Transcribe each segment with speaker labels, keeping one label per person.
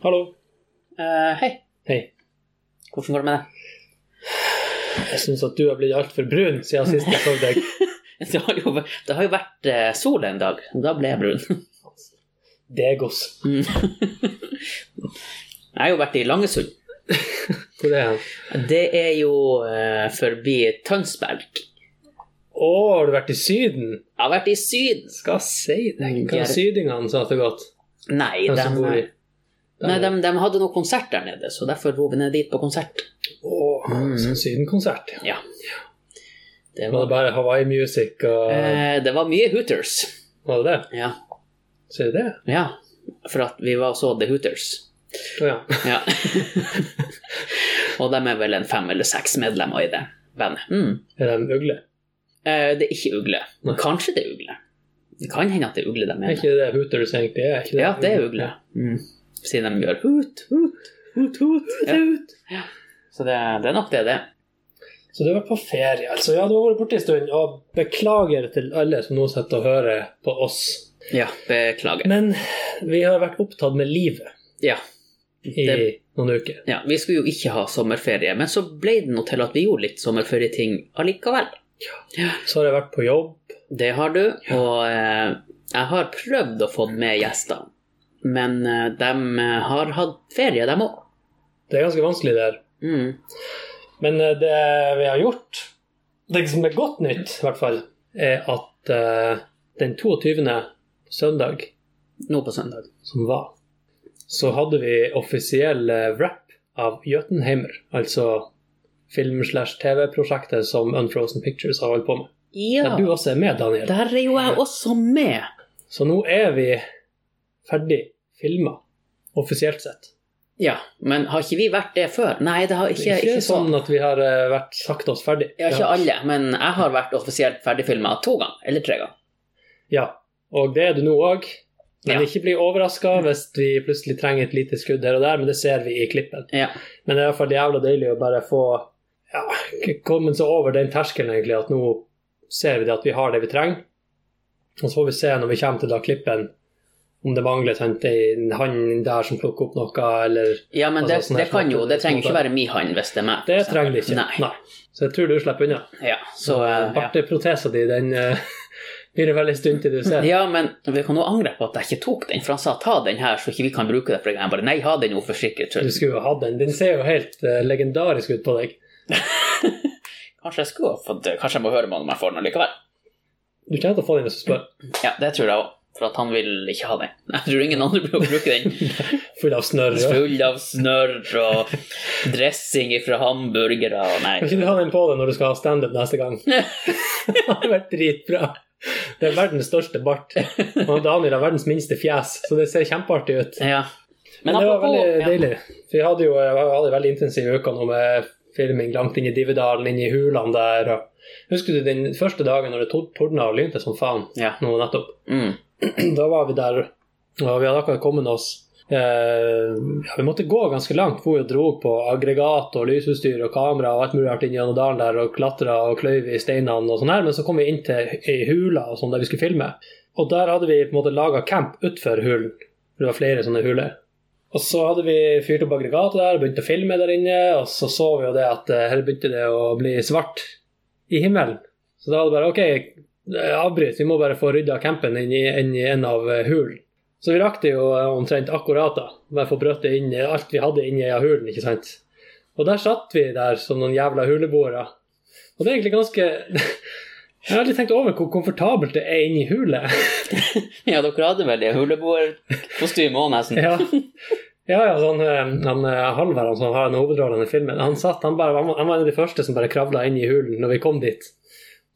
Speaker 1: Hallo.
Speaker 2: Eh, hei,
Speaker 1: Hei.
Speaker 2: hvordan går det med deg?
Speaker 1: Jeg syns at du har blitt altfor brun siden sist jeg så deg.
Speaker 2: Det har jo, væ- det har jo vært eh, sol en dag. Da ble jeg brun.
Speaker 1: Degos.
Speaker 2: Mm. jeg har jo vært i Langesund.
Speaker 1: Hvor er han?
Speaker 2: Det er jo eh, forbi Tønsberg.
Speaker 1: Å, har du vært i Syden?
Speaker 2: Jeg har vært i Syden.
Speaker 1: Skal si deg.
Speaker 2: Jeg
Speaker 1: Hva
Speaker 2: er-
Speaker 1: sydingene sa til godt?
Speaker 2: Nei,
Speaker 1: De som bor i
Speaker 2: de, nei de, de hadde noe konsert der nede, så derfor dro vi ned dit på konsert.
Speaker 1: Å,
Speaker 2: Mm.
Speaker 1: så Sydenkonsert.
Speaker 2: Ja. Det
Speaker 1: Var
Speaker 2: var,
Speaker 1: det bare Hawaii Music og
Speaker 2: eh, det var mye Hooters.
Speaker 1: Var det det?
Speaker 2: Ja.
Speaker 1: Sier du det?
Speaker 2: ja. For at vi var og så The Hooters.
Speaker 1: Å ja.
Speaker 2: Ja. og de er vel en fem eller seks medlemmer i det bandet. Mm.
Speaker 1: Er de ugle?
Speaker 2: Eh, det er ikke ugle.
Speaker 1: Nei.
Speaker 2: Kanskje det er ugle. Det kan hende at det er ugle de
Speaker 1: Er
Speaker 2: mener.
Speaker 1: ikke det Hooters egentlig er? ikke
Speaker 2: Ja, det er ugle. Mm. Siden de gjør hut, hut, hut, hut. Ja. Så det, det er nok det det er.
Speaker 1: Så du har vært på ferie, altså. Ja, du har vært borte en stund. Og beklager til alle som nå sitter og hører på oss.
Speaker 2: Ja, beklager.
Speaker 1: Men vi har vært opptatt med livet
Speaker 2: Ja,
Speaker 1: i
Speaker 2: Det-
Speaker 1: noen uker.
Speaker 2: ja, vi skulle jo ikke ha sommerferie, men så ble det nå til at vi gjorde litt sommerferieting allikevel.
Speaker 1: Så har jeg vært på jobb.
Speaker 2: Det har du, og eh, jeg har prøvd å få med gjester, men eh, de har hatt ferie, de òg.
Speaker 1: Det er ganske vanskelig der.
Speaker 2: Mm.
Speaker 1: Men eh, det vi har gjort, det som er godt nytt i hvert fall, er at eh, den 22. søndag
Speaker 2: Nå på søndag.
Speaker 1: som var, så hadde vi offisiell eh, wrap av Jotunheimer, altså film-slash-tv-prosjektet som Unfrozen Pictures har holdt på med.
Speaker 2: Ja,
Speaker 1: Der du også er med, Daniel.
Speaker 2: der er jo jeg også med.
Speaker 1: Så nå er vi ferdig filma, offisielt sett.
Speaker 2: Ja, men har ikke vi vært det før? Nei, det har
Speaker 1: Det
Speaker 2: ikke,
Speaker 1: er ikke
Speaker 2: ikke
Speaker 1: sånn
Speaker 2: sånn.
Speaker 1: at vi har eh, vært sagt oss ferdig.
Speaker 2: Ja, ikke alle, men jeg har vært offisielt ferdigfilma to ganger, eller tre ganger.
Speaker 1: Ja, og det er du nå òg. Men
Speaker 2: Ja.
Speaker 1: ikke bli overraska hvis vi plutselig trenger et lite skudd her og der, men det ser vi i klippen.
Speaker 2: Ja.
Speaker 1: Men det er i hvert fall jævla deilig å bare få ja, kommet seg over den terskelen, egentlig, at nå ser vi det at vi har det vi trenger. Og så får vi se når vi kommer til da klippen, om det mangler sant, en hand der som plukker opp noe, eller
Speaker 2: ja, men det,
Speaker 1: Altså, sånn her
Speaker 2: det kan jo, det trenger jo
Speaker 1: sånn
Speaker 2: ikke være min hand hvis det er meg.
Speaker 1: Det trenger det ikke.
Speaker 2: Nei.
Speaker 1: Så jeg tror du slipper unna.
Speaker 2: Ja, så eh, ja.
Speaker 1: Barteprotesa di, den eh, blir det vel en stund til du ser.
Speaker 2: Ja, men vi kan jo angre på at jeg ikke tok den, for han sa ta den her, så ikke vi kan bruke det. For jeg bare nei, ha den jo for sikkerhets
Speaker 1: Du
Speaker 2: skyld.
Speaker 1: skulle jo hatt den. Den ser jo helt eh, legendarisk ut på deg.
Speaker 2: Kanskje jeg skulle ha fått det, kanskje jeg må høre med han om jeg får den likevel.
Speaker 1: Du kommer til å få den hvis du spør.
Speaker 2: Ja, det tror jeg òg, for at han vil ikke ha den. Jeg tror ingen andre blir å bruke den.
Speaker 1: Full av snørr. og-
Speaker 2: Full av snørr og dressing fra hamburgere og nei.
Speaker 1: Kan ikke du ha den på deg når du skal ha standup neste gang? det hadde vært dritbra. Det er verdens største bart. Og Daniel har verdens minste fjes, så det ser kjempeartig ut.
Speaker 2: Ja.
Speaker 1: Men det var veldig
Speaker 2: ja.
Speaker 1: deilig. For vi hadde jo vi hadde en veldig intensive uker nå med filming langt inn i Dividalen, inn i hulene der. Og... Husker du den første dagen når det tor- tordna og lynte som faen
Speaker 2: Ja.
Speaker 1: nå nettopp?
Speaker 2: Mm.
Speaker 1: Da var vi der, og vi hadde akkurat kommet oss. Eh, ja, vi måtte gå ganske langt. For vi dro på aggregat og lysutstyr og kamera og alt mulig rart inn gjennom dalen der og klatra og kløyv i steinene og sånn her. Men så kom vi inn til ei hule og sånn der vi skulle filme. Og der hadde vi på en måte laga camp utfor hulen. For det var flere sånne huler. Og så hadde vi fyrt opp aggregatet der og begynt å filme der inne. Og så så vi jo det at eh, her begynte det å bli svart i himmelen. Så da var det bare OK, eh, avbryt, vi må bare få rydda campen inn i, inn i en av eh, hulen. Så vi rakk det jo eh, omtrent akkurat da. Bare få brøt det inn eh, alt vi hadde inni av hulen, ikke sant. Og der satt vi der som noen jævla huleboere. Og det er egentlig ganske Jeg har aldri tenkt over hvor komfortabelt det er inni hule.
Speaker 2: ja, dere hadde vel det huleboerkostyme òg, nesten.
Speaker 1: Ja, ja, ja sånn, eh, han eh, Halvard han som har en hovedrollen i filmen, han, satt, han, bare, han var- han var en av de første som bare kravla inn i hulen når vi kom dit.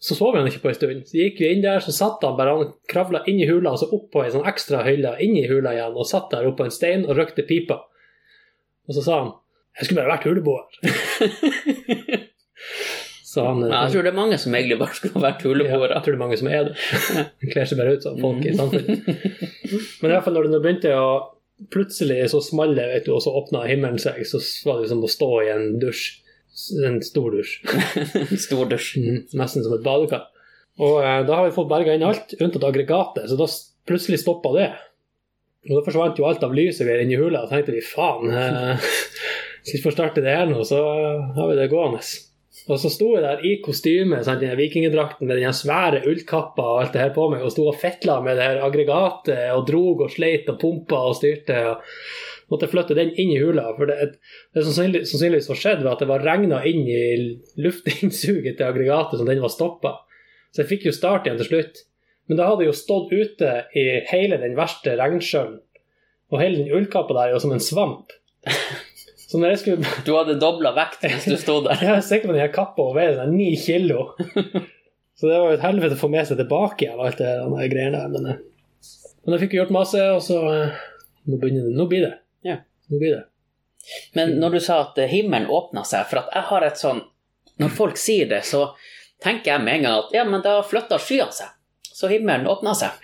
Speaker 1: Så sov han ikke på en stund. Så gikk vi inn der, så satt han bare, han kravla inn i hula, og så opp på ei sånn ekstra hylle, inn i hula igjen, og satt der oppå en stein og røkte pipa. Og så sa han 'Jeg skulle bare vært huleboer'. så han eh,
Speaker 2: Men jeg tror det er mange som egentlig bare skulle ha vært huleboere.
Speaker 1: ja, jeg tror det er mange som er det. De kler seg bare ut som folk i samfunnet. Men i hvert fall når det nå begynte å Plutselig så smalt det, vet du, og så åpna himmelen seg, så var det som å stå i en dusj. En stor dusj.
Speaker 2: Stor dusj.
Speaker 1: Mm, nesten som et badekar. Og eh, da har vi fått berga inn alt, unntatt aggregatet, så da s- plutselig stoppa det. Og da forsvant jo alt av lyset vi er inne i hula, og tenkte vi faen eh, Hvis vi får starte det her nå, så har vi det gående. Og så sto jeg der i kostyme, sant, den vikingdrakten med den her svære ullkappa og alt det her på meg, og sto og fetla med det her aggregatet og drog og sleit og pumpa og styrte. og Måtte flytte den inn i hula. For det, det som sannsynlig- sannsynligvis har skjedd, var at det var regna inn i luftinnsuget til aggregatet, så den var stoppa. Så jeg fikk jo start igjen til slutt. Men da hadde jeg jo stått ute i hele den verste regnsjøen. Og hele den ullkappa der er jo som en svamp. Så når jeg skulle
Speaker 2: Du hadde dobla vekt hvis du sto der.
Speaker 1: Jeg er sikker på at den her kappa og veier sånn ni kilo. Så det var jo et helvete å få med seg tilbake igjen, alt det der greiene der. Men, eh, men jeg fikk jo gjort masse, og så eh, Nå begynner det. Nå blir det.
Speaker 2: Ja.
Speaker 1: Nå blir det.
Speaker 2: Men når du sa at eh, himmelen åpna seg, for at jeg har et sånn Når folk sier det, så tenker jeg med en gang at ja, men da flytta skyene seg. Så himmelen åpna seg.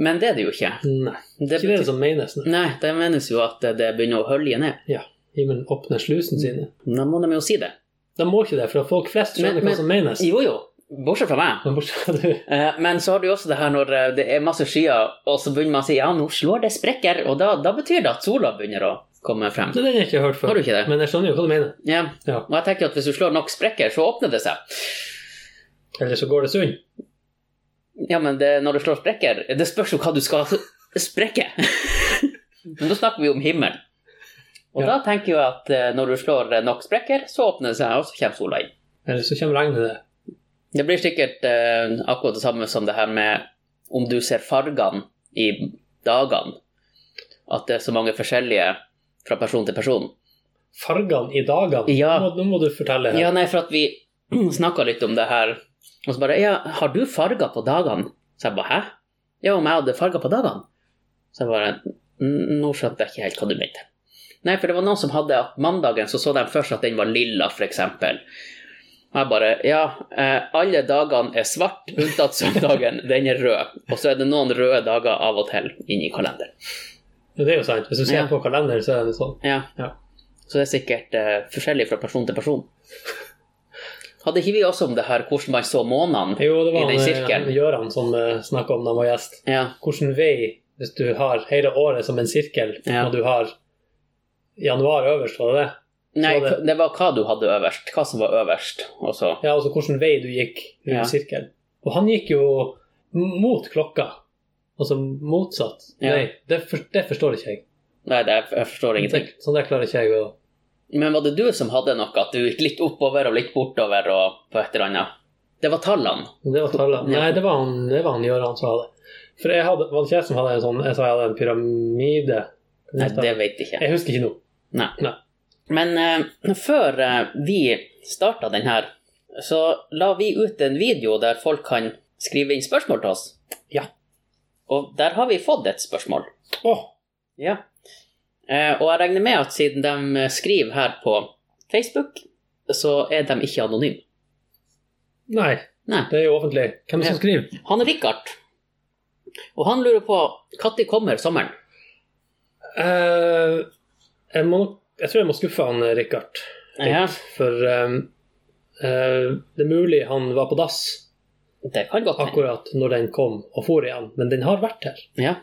Speaker 2: Men det er det jo ikke.
Speaker 1: Nei.
Speaker 2: Det
Speaker 1: Ikke det
Speaker 2: betyr,
Speaker 1: som menes. nei.
Speaker 2: nei, det menes jo at det begynner å hølje ned.
Speaker 1: Himmelen åpner
Speaker 2: Mm.
Speaker 1: slusene sine.
Speaker 2: Da må de jo si det.
Speaker 1: De må ikke det, for folk flest skjønner
Speaker 2: Men- men-
Speaker 1: hva som menes.
Speaker 2: Jo jo, bortsett fra meg.
Speaker 1: Men bortsett fra du.
Speaker 2: Eh, Men så har du jo også det her når eh, det er masse skyer, og så begynner man å si ja, nå slår det sprekker, og da, da betyr det at sola begynner å komme frem.
Speaker 1: Nei, Den har jeg ikke hørt før.
Speaker 2: Har du ikke det?
Speaker 1: Men jeg skjønner jo hva du mener.
Speaker 2: Ja.
Speaker 1: Ja.
Speaker 2: Og jeg tenker at hvis du slår nok sprekker, så åpner det seg.
Speaker 1: Eller så går det sund.
Speaker 2: Ja, men det, når du slår sprekker, det spørs jo hva du skal sprekke. men da snakker vi om himmelen. Og
Speaker 1: Ja.
Speaker 2: da tenker jeg at eh, når du slår eh, nok sprekker, så åpner det seg, og så kommer sola inn.
Speaker 1: Eller så kommer regnet det.
Speaker 2: Det blir sikkert eh, akkurat det samme som det her med om du ser fargene i dagene. At det er så mange forskjellige fra person til person.
Speaker 1: Fargene i dagene.
Speaker 2: Ja.
Speaker 1: Nå, må- nå må du fortelle.
Speaker 2: Ja, nei, for at vi snakka litt om det her, og så bare Ja, har du farger på dagene? Så jeg bare Hæ? Ja, om jeg hadde farger på dagene? Så jeg bare «N- Nå skjønte jeg ikke helt hva du mente. Nei, for det var noen som hadde at mandagen så så de først at den var lilla, f.eks. Og jeg bare Ja, eh, alle dagene er svart, unntatt søndagen. Den er rød. Og så er det noen røde dager av og til inni kalenderen.
Speaker 1: Det er jo sant. Hvis du ser
Speaker 2: Ja.
Speaker 1: på kalenderen, så er det sånn.
Speaker 2: Ja.
Speaker 1: Ja.
Speaker 2: Så det er sikkert eh, forskjellig fra person til person. Hadde ikke vi også om det her hvordan man så månene?
Speaker 1: Jo, det
Speaker 2: I
Speaker 1: var han,
Speaker 2: den
Speaker 1: eh,
Speaker 2: sirkelen.
Speaker 1: han Gøran som eh, snakka om da han var gjest.
Speaker 2: Ja.
Speaker 1: Hvilken vei, hvis du har hele året som en sirkel,
Speaker 2: Ja.
Speaker 1: og du har januar øverst, var det det?
Speaker 2: Nei,
Speaker 1: Så det-
Speaker 2: det var hva du hadde øverst. Hva som var øverst. Og så
Speaker 1: Ja, altså hvilken vei du gikk i
Speaker 2: Ja.
Speaker 1: sirkelen. Og han gikk jo m- mot klokka. Altså motsatt.
Speaker 2: Ja.
Speaker 1: Nei, det, for, det forstår ikke jeg.
Speaker 2: Nei, det, jeg forstår ingenting.
Speaker 1: Det- Sånn der klarer ikke jeg å
Speaker 2: Men var det du som hadde noe? At du gikk litt oppover og litt bortover og på et eller annet? Det var tallene.
Speaker 1: Men Det var tallet.
Speaker 2: Ja.
Speaker 1: Nei, det var han, det var han Gøran som hadde. For jeg hadde, var det ikke jeg som hadde en sånn Jeg sa jeg hadde en pyramide.
Speaker 2: Nei, det vet jeg ikke.
Speaker 1: Jeg husker ikke nå.
Speaker 2: Nei.
Speaker 1: Nei.
Speaker 2: Men eh, før eh, vi starta den her, så la vi ut en video der folk kan skrive inn spørsmål til oss.
Speaker 1: Ja.
Speaker 2: Og der har vi fått et spørsmål.
Speaker 1: Åh,
Speaker 2: Ja. Eh, og jeg regner med at siden de skriver her på Facebook, så er de ikke anonyme.
Speaker 1: nei,
Speaker 2: Nei.
Speaker 1: det er jo offentlig. Hvem er det som skriver?
Speaker 2: Han er Richard, og han lurer på når kommer sommeren?
Speaker 1: Eh, jeg, må, nok- jeg tror jeg må skuffe han eh, Richard.
Speaker 2: Ja,
Speaker 1: For eh, eh, det er mulig han var på dass
Speaker 2: det kan godt hende.
Speaker 1: akkurat når den kom og for igjen, men den har vært her.
Speaker 2: Ja.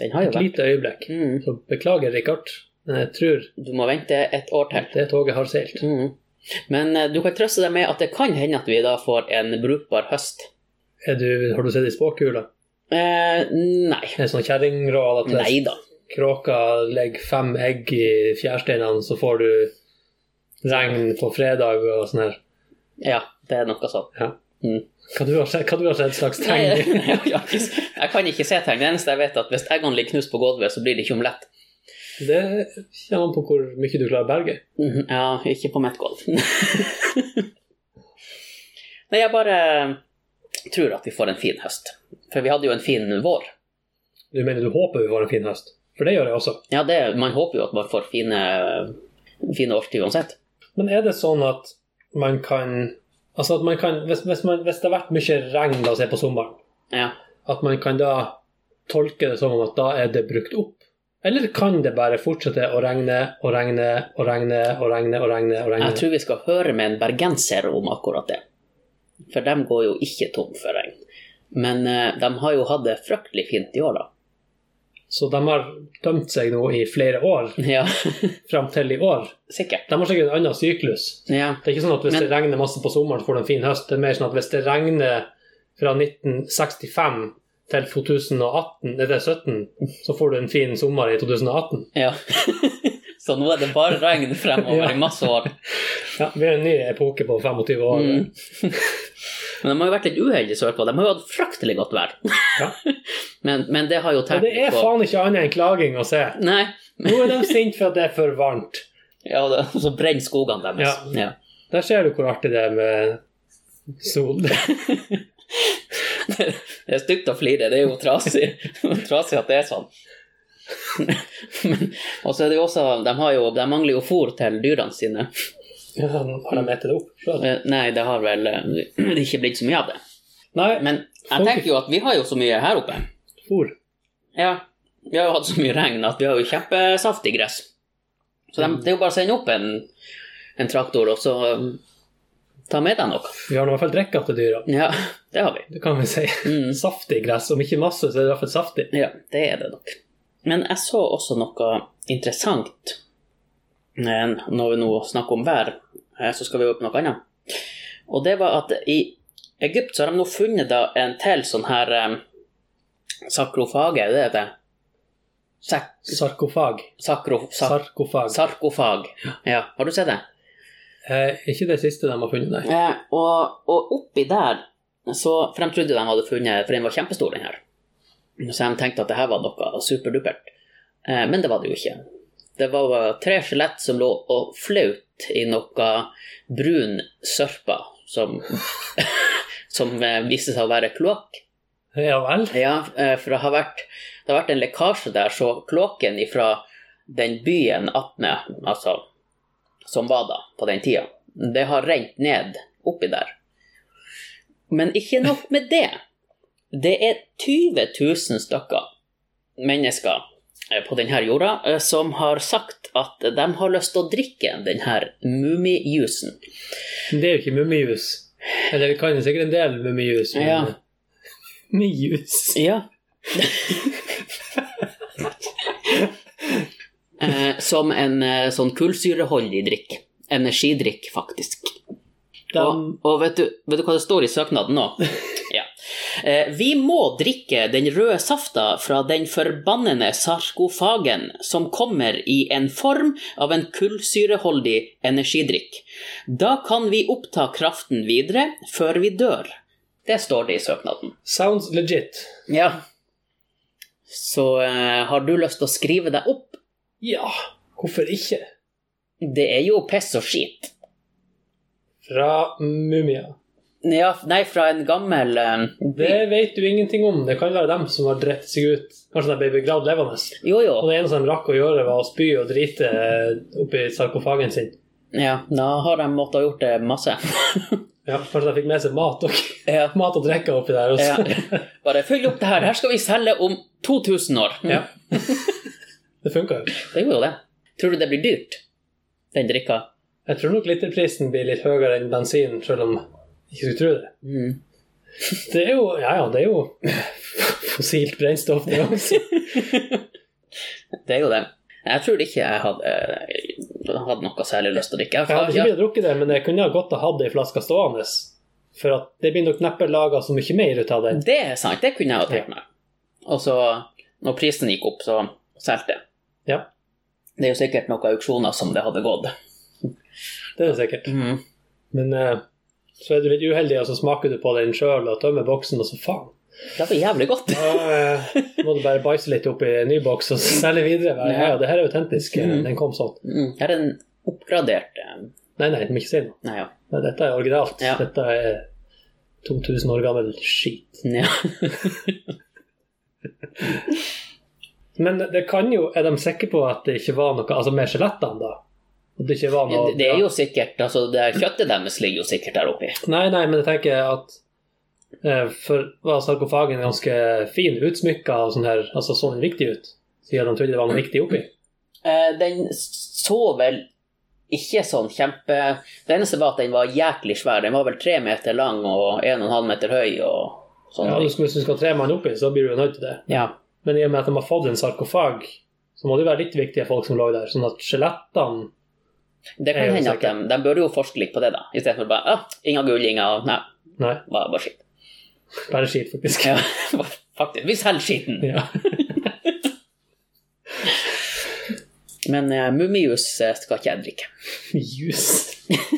Speaker 2: Den har jo
Speaker 1: Et
Speaker 2: vært
Speaker 1: lite øyeblikk.
Speaker 2: mm.
Speaker 1: Så beklager, Richard, men jeg tror
Speaker 2: Du må vente et år til.
Speaker 1: det toget har seilt.
Speaker 2: Mm. Men eh, du kan trøste deg med at det kan hende at vi da får en brukbar høst.
Speaker 1: Er du, har du sett i spåkula?
Speaker 2: Eh, nei.
Speaker 1: En sånn kjerringråd at
Speaker 2: Nei
Speaker 1: hvis
Speaker 2: da.
Speaker 1: kråka legger fem egg i fjærsteinene, så får du regn på fredag og sånn her.
Speaker 2: Ja, det er noe sånt.
Speaker 1: Hva du har sett, hva du har sett slags
Speaker 2: Nei,
Speaker 1: tegn? i?
Speaker 2: jeg, jeg kan ikke se tegn. Det eneste jeg vet, er at hvis eggene ligger knust på gulvet, så blir det ikke omelett.
Speaker 1: Det kommer an på hvor mye du klarer å berge.
Speaker 2: Mhm, Ja, ikke på mitt gulv. Nei, jeg bare tror at vi får en fin høst. For vi hadde jo en fin vår.
Speaker 1: Du mener du håper vi får en fin høst? For det gjør jeg også.
Speaker 2: Ja, det, Man håper jo at man får fine, fine årstid uansett.
Speaker 1: Men er det sånn at man kan Altså at man kan Hvis, hvis, man, hvis det har vært mye regn la oss si på sommeren,
Speaker 2: Ja.
Speaker 1: at man kan da tolke det som om at da er det brukt opp? Eller kan det bare fortsette å regne og regne og regne og regne og regne? og regne?
Speaker 2: Jeg tror vi skal høre med en bergenser om akkurat det. For de går jo ikke tom for regn. Men eh, de har jo hatt det fryktelig fint i år, da.
Speaker 1: Så de har tømt seg nå i flere år,
Speaker 2: Ja,
Speaker 1: fram til i år.
Speaker 2: sikkert.
Speaker 1: De har sikkert en annen syklus.
Speaker 2: Ja.
Speaker 1: Det er ikke sånn at hvis
Speaker 2: Men-
Speaker 1: det regner masse på sommeren, så får du en fin høst. Det er mer sånn at hvis det regner fra 1965 til 2018, nei, det er 17, så får du en fin sommer i 2018.
Speaker 2: ja. Så nå er det bare regn fremover
Speaker 1: Ja.
Speaker 2: i masse år.
Speaker 1: Ja, vi er en ny epoke på 25 år.
Speaker 2: Mm. Men de har jo vært litt uheldige sørpå. De har jo hatt fryktelig godt vær.
Speaker 1: Ja.
Speaker 2: Men, men det har jo
Speaker 1: Og
Speaker 2: tært
Speaker 1: det er
Speaker 2: litt
Speaker 1: faen ikke annet enn klaging å se.
Speaker 2: Nei.
Speaker 1: Nå er de sinte for at det er for varmt.
Speaker 2: Ja, det, og så brenner skogene deres. Ja.
Speaker 1: Der ser du hvor artig det er med sol.
Speaker 2: Det er stygt å flire, det er jo trasig, trasig at det er sånn. Men, og så er det jo også, de, har jo, de mangler jo fôr til dyrene sine.
Speaker 1: Ja, har de etet det opp? selv?
Speaker 2: Eh, Nei, det har vel eh, det er ikke blitt så mye av det.
Speaker 1: Nei,
Speaker 2: Men jeg tenker jo at vi har jo så mye her oppe.
Speaker 1: fôr.
Speaker 2: Ja, Vi har jo hatt så mye regn at vi har jo kjempesaftig gress. Så dem- det er jo bare å sende opp en, en traktor, og så eh, ta med deg noe.
Speaker 1: Vi har nå i hvert fall drikka til dyra.
Speaker 2: Ja, det har vi.
Speaker 1: Det kan vi si.
Speaker 2: Mm.
Speaker 1: Saftig gress. Om ikke masse, så er det i hvert fall saftig.
Speaker 2: Ja, det er det nok. Men jeg så også noe interessant. Men Når vi nå snakker om vær, eh, så skal vi opp på noe annet. Og det var at i Egypt så har de nå funnet da en til sånn her eh, sakrofage, er det det heter? Sak
Speaker 1: Sarkofag.
Speaker 2: sakro sak
Speaker 1: Sarkofag.
Speaker 2: sarkofag. Ja, har du sett det?
Speaker 1: Eh, ikke det siste de har funnet, nei.
Speaker 2: Eh, og, og oppi der så, For de trodde de hadde funnet For den var kjempestor, den her. Så de tenkte at det her var noe superdupert. Eh, men det var det jo ikke. Det var eh, tre skjelett som lå og flaut i noe brun sørpa som, som eh, viste seg å være kloakk.
Speaker 1: Ja vel.
Speaker 2: Ja, eh, for det har vært, det har vært en lekkasje der, så kloakken ifra den byen attmed, altså, som var da på den tida, det har rent ned oppi der. Men ikke nok med det. Det er 20 000 stykker mennesker eh, på denne jorda eh, som har sagt at de har lyst til å drikke denne mumijusen.
Speaker 1: Men det er jo ikke mummijus. Eller vi kan jo sikkert en del mummijus, men eh,
Speaker 2: Ja.
Speaker 1: Mummijus.
Speaker 2: Ja. eh, som en eh, sånn kullsyreholdig drikk. Energidrikk, faktisk.
Speaker 1: De,
Speaker 2: Og, og vet, du, vet du hva det står i søknaden nå? Ja. Eh, vi må drikke den røde safta fra den forbannede sarkofagen som kommer i en form av en kullsyreholdig energidrikk. Da kan vi oppta kraften videre før vi dør. Det står det i søknaden.
Speaker 1: sounds legit.
Speaker 2: Ja. Så eh, har du lyst til å skrive deg opp?
Speaker 1: Ja, hvorfor ikke?
Speaker 2: Det er jo piss og skit.
Speaker 1: Fra mumia.
Speaker 2: Ja, nei, fra en gammel eh, by.
Speaker 1: Det vet du ingenting om. Det kan være dem som har drept seg ut. Kanskje de ble begravd levende.
Speaker 2: Jo, jo.
Speaker 1: Og det eneste de rakk å gjøre, var å spy og drite eh, oppi sarkofagen sin.
Speaker 2: Ja, da har de måttet ha gjort det masse.
Speaker 1: Ja, Kanskje de fikk med seg mat og,
Speaker 2: ja.
Speaker 1: mat og drikke oppi der
Speaker 2: ja.
Speaker 1: også.
Speaker 2: Bare fyll opp det her. Her skal vi selge om 2000 år.
Speaker 1: Ja. Det funka jo.
Speaker 2: Det gjorde jo det. Tror du det blir dyrt, den drikka?
Speaker 1: Jeg tror nok literprisen blir litt høyere enn bensin, selv om jeg ikke skulle tro det.
Speaker 2: Mm.
Speaker 1: Det er jo Ja ja, det er jo fossilt brennstoff, det også.
Speaker 2: Det er jo det. Jeg tror ikke jeg hadde, eh, hadde noe særlig lyst til å drikke.
Speaker 1: Jeg hadde ikke blitt drukket det, men jeg kunne ha godt ha hatt ei flaske stående. For at det blir nok neppe laga så mye mer ut av den.
Speaker 2: Det er sant, det kunne jeg ha tenkt meg. Og så, når prisen gikk opp, så solgte jeg.
Speaker 1: Ja,
Speaker 2: Det er jo sikkert noen auksjoner som det hadde gått.
Speaker 1: det er det sikkert.
Speaker 2: Mm.
Speaker 1: Men eh, så er du litt uheldig, og så smaker du på den sjøl og tømmer boksen, og så faen.
Speaker 2: Det var jævlig godt.
Speaker 1: Da eh, må du bare bæsje litt oppi en ny boks og selge videre. Bare, ja, ja, det her er autentisk. eh, Den kom sånn.
Speaker 2: Mm. Her er en oppgradert eh,
Speaker 1: Nei, nei, du må ikke si noe.
Speaker 2: Nei, ja.
Speaker 1: Nei, Dette er originalt.
Speaker 2: Ja.
Speaker 1: Dette er 2000 år gammel skit.
Speaker 2: ja.
Speaker 1: Men det kan jo Er de sikre på at det ikke var noe Altså med skjelettene, da? At det ikke var noe
Speaker 2: Det- Det er jo sikkert altså, det her Kjøttet deres ligger jo sikkert der oppi.
Speaker 1: Nei, nei, men jeg tenker at eh, For var sarkofagen ganske fin, utsmykka og sånn her, altså så den viktig ut? Siden de trodde det var noe viktig oppi?
Speaker 2: Eh, Den så vel ikke sånn kjempe Det eneste var at den var jæklig svær. Den var vel tre meter lang og en og en halv meter høy og
Speaker 1: Ja,
Speaker 2: sånne
Speaker 1: du
Speaker 2: ting.
Speaker 1: skulle, hvis du skal ha tre mann oppi, så blir du jo nødt til det.
Speaker 2: Ja.
Speaker 1: Men i og med at de har fått en sarkofag, så må det jo være litt viktige folk som lå der. Sånn at skjelettene
Speaker 2: Det
Speaker 1: Jeg
Speaker 2: kan
Speaker 1: er
Speaker 2: hende at
Speaker 1: usikker.
Speaker 2: de, de burde jo forske litt på det, da. Istedenfor bare ah, inga gullinger. Nei,
Speaker 1: Nei,
Speaker 2: bare, bare skitt.
Speaker 1: bare skit, faktisk.
Speaker 2: Ja, faktisk. Vi selger skitten.
Speaker 1: Ja.
Speaker 2: Men uh, mummius eh, skal ikke jeg drikke.
Speaker 1: Jus.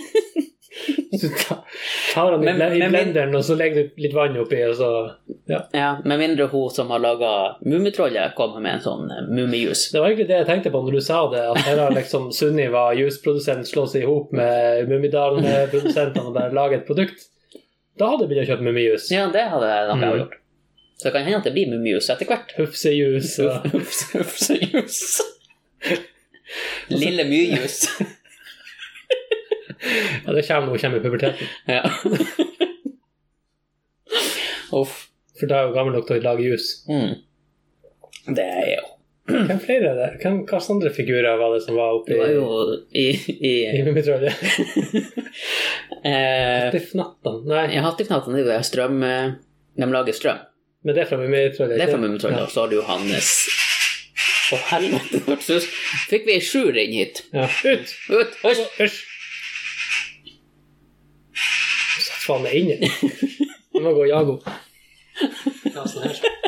Speaker 1: Så ta- tar han i
Speaker 2: Men-
Speaker 1: ble- i
Speaker 2: men-
Speaker 1: blenderen, og så legger du litt vann oppi, og så
Speaker 2: Ja, Med mindre hun som har laga Mummitrollet, kommer med en sånn eh, mummijus.
Speaker 1: Det var egentlig det jeg tenkte på når du sa det, at her har liksom Sunniva juiceprodusent slå seg i hop med Mummidalen-produsentene og bare lage et produkt. Da hadde jeg begynt å kjøpe mummijus.
Speaker 2: Ja, det hadde jeg nok
Speaker 1: Mm.
Speaker 2: jeg gjort. Så det kan hende at det blir mummijus etter hvert.
Speaker 1: Hufsejus og
Speaker 2: Ups, ups, jus. Lille myjus.
Speaker 1: ja, Det kommer når hun kommer i puberteten.
Speaker 2: Ja. Uff.
Speaker 1: For da er hun gammel nok til å lage jus.
Speaker 2: Mm. Det er jo
Speaker 1: Hvem flere er det? Hvem, hva slags andre figurer var det som var oppi
Speaker 2: Det var jo i, i
Speaker 1: i Mummitrollet?
Speaker 2: eh,
Speaker 1: Hattifnattene? Nei,
Speaker 2: Jeg har alltid fnatt om det er strøm eh, De lager strøm.
Speaker 1: men det er fra Mummitrollet?
Speaker 2: Det er fra
Speaker 1: ikke?
Speaker 2: Mummitrollet. Og så har du Johannes Å, helvete, hørtes ut Fikk vi ei sjuer inn hit?
Speaker 1: Ja. Ja. Ut!
Speaker 2: Ut! Hysj!
Speaker 1: Hysj! Sett faen meg inn i den. Jeg må gå og jage henne. Ja, sånn her.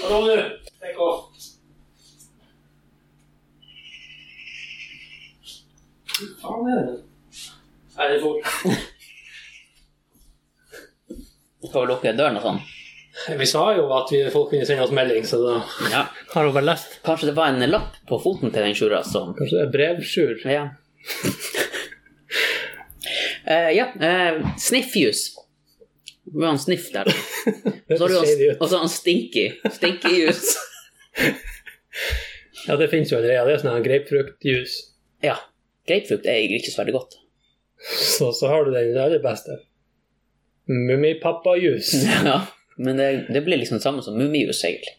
Speaker 1: Kom nå, stikk av. Faen er det? Nei, det er fort.
Speaker 2: Skal vi lukke døren og sånn?
Speaker 1: Vi sa jo at vi, folk kunne sende oss melding, så da
Speaker 2: Ja.
Speaker 1: har hun bare lest.
Speaker 2: Kanskje det var en lapp på foten til den sjura som
Speaker 1: Kanskje det er brevskjul?
Speaker 2: Ja. Eh, ja, eh, Sniffjus. Det var en sniff der.
Speaker 1: Det
Speaker 2: Og så har du
Speaker 1: ser det
Speaker 2: han-
Speaker 1: ut.
Speaker 2: og så har han Stinky. Stinkyjus.
Speaker 1: Ja, det finnes jo allerede. Det er sånn her grapefruktjus.
Speaker 2: Ja. Grapefrukt er egentlig ikke så veldig godt.
Speaker 1: Så, så har du den aller beste. Mummipappajus.
Speaker 2: Ja, men det, det blir liksom det samme som mummijus, egentlig.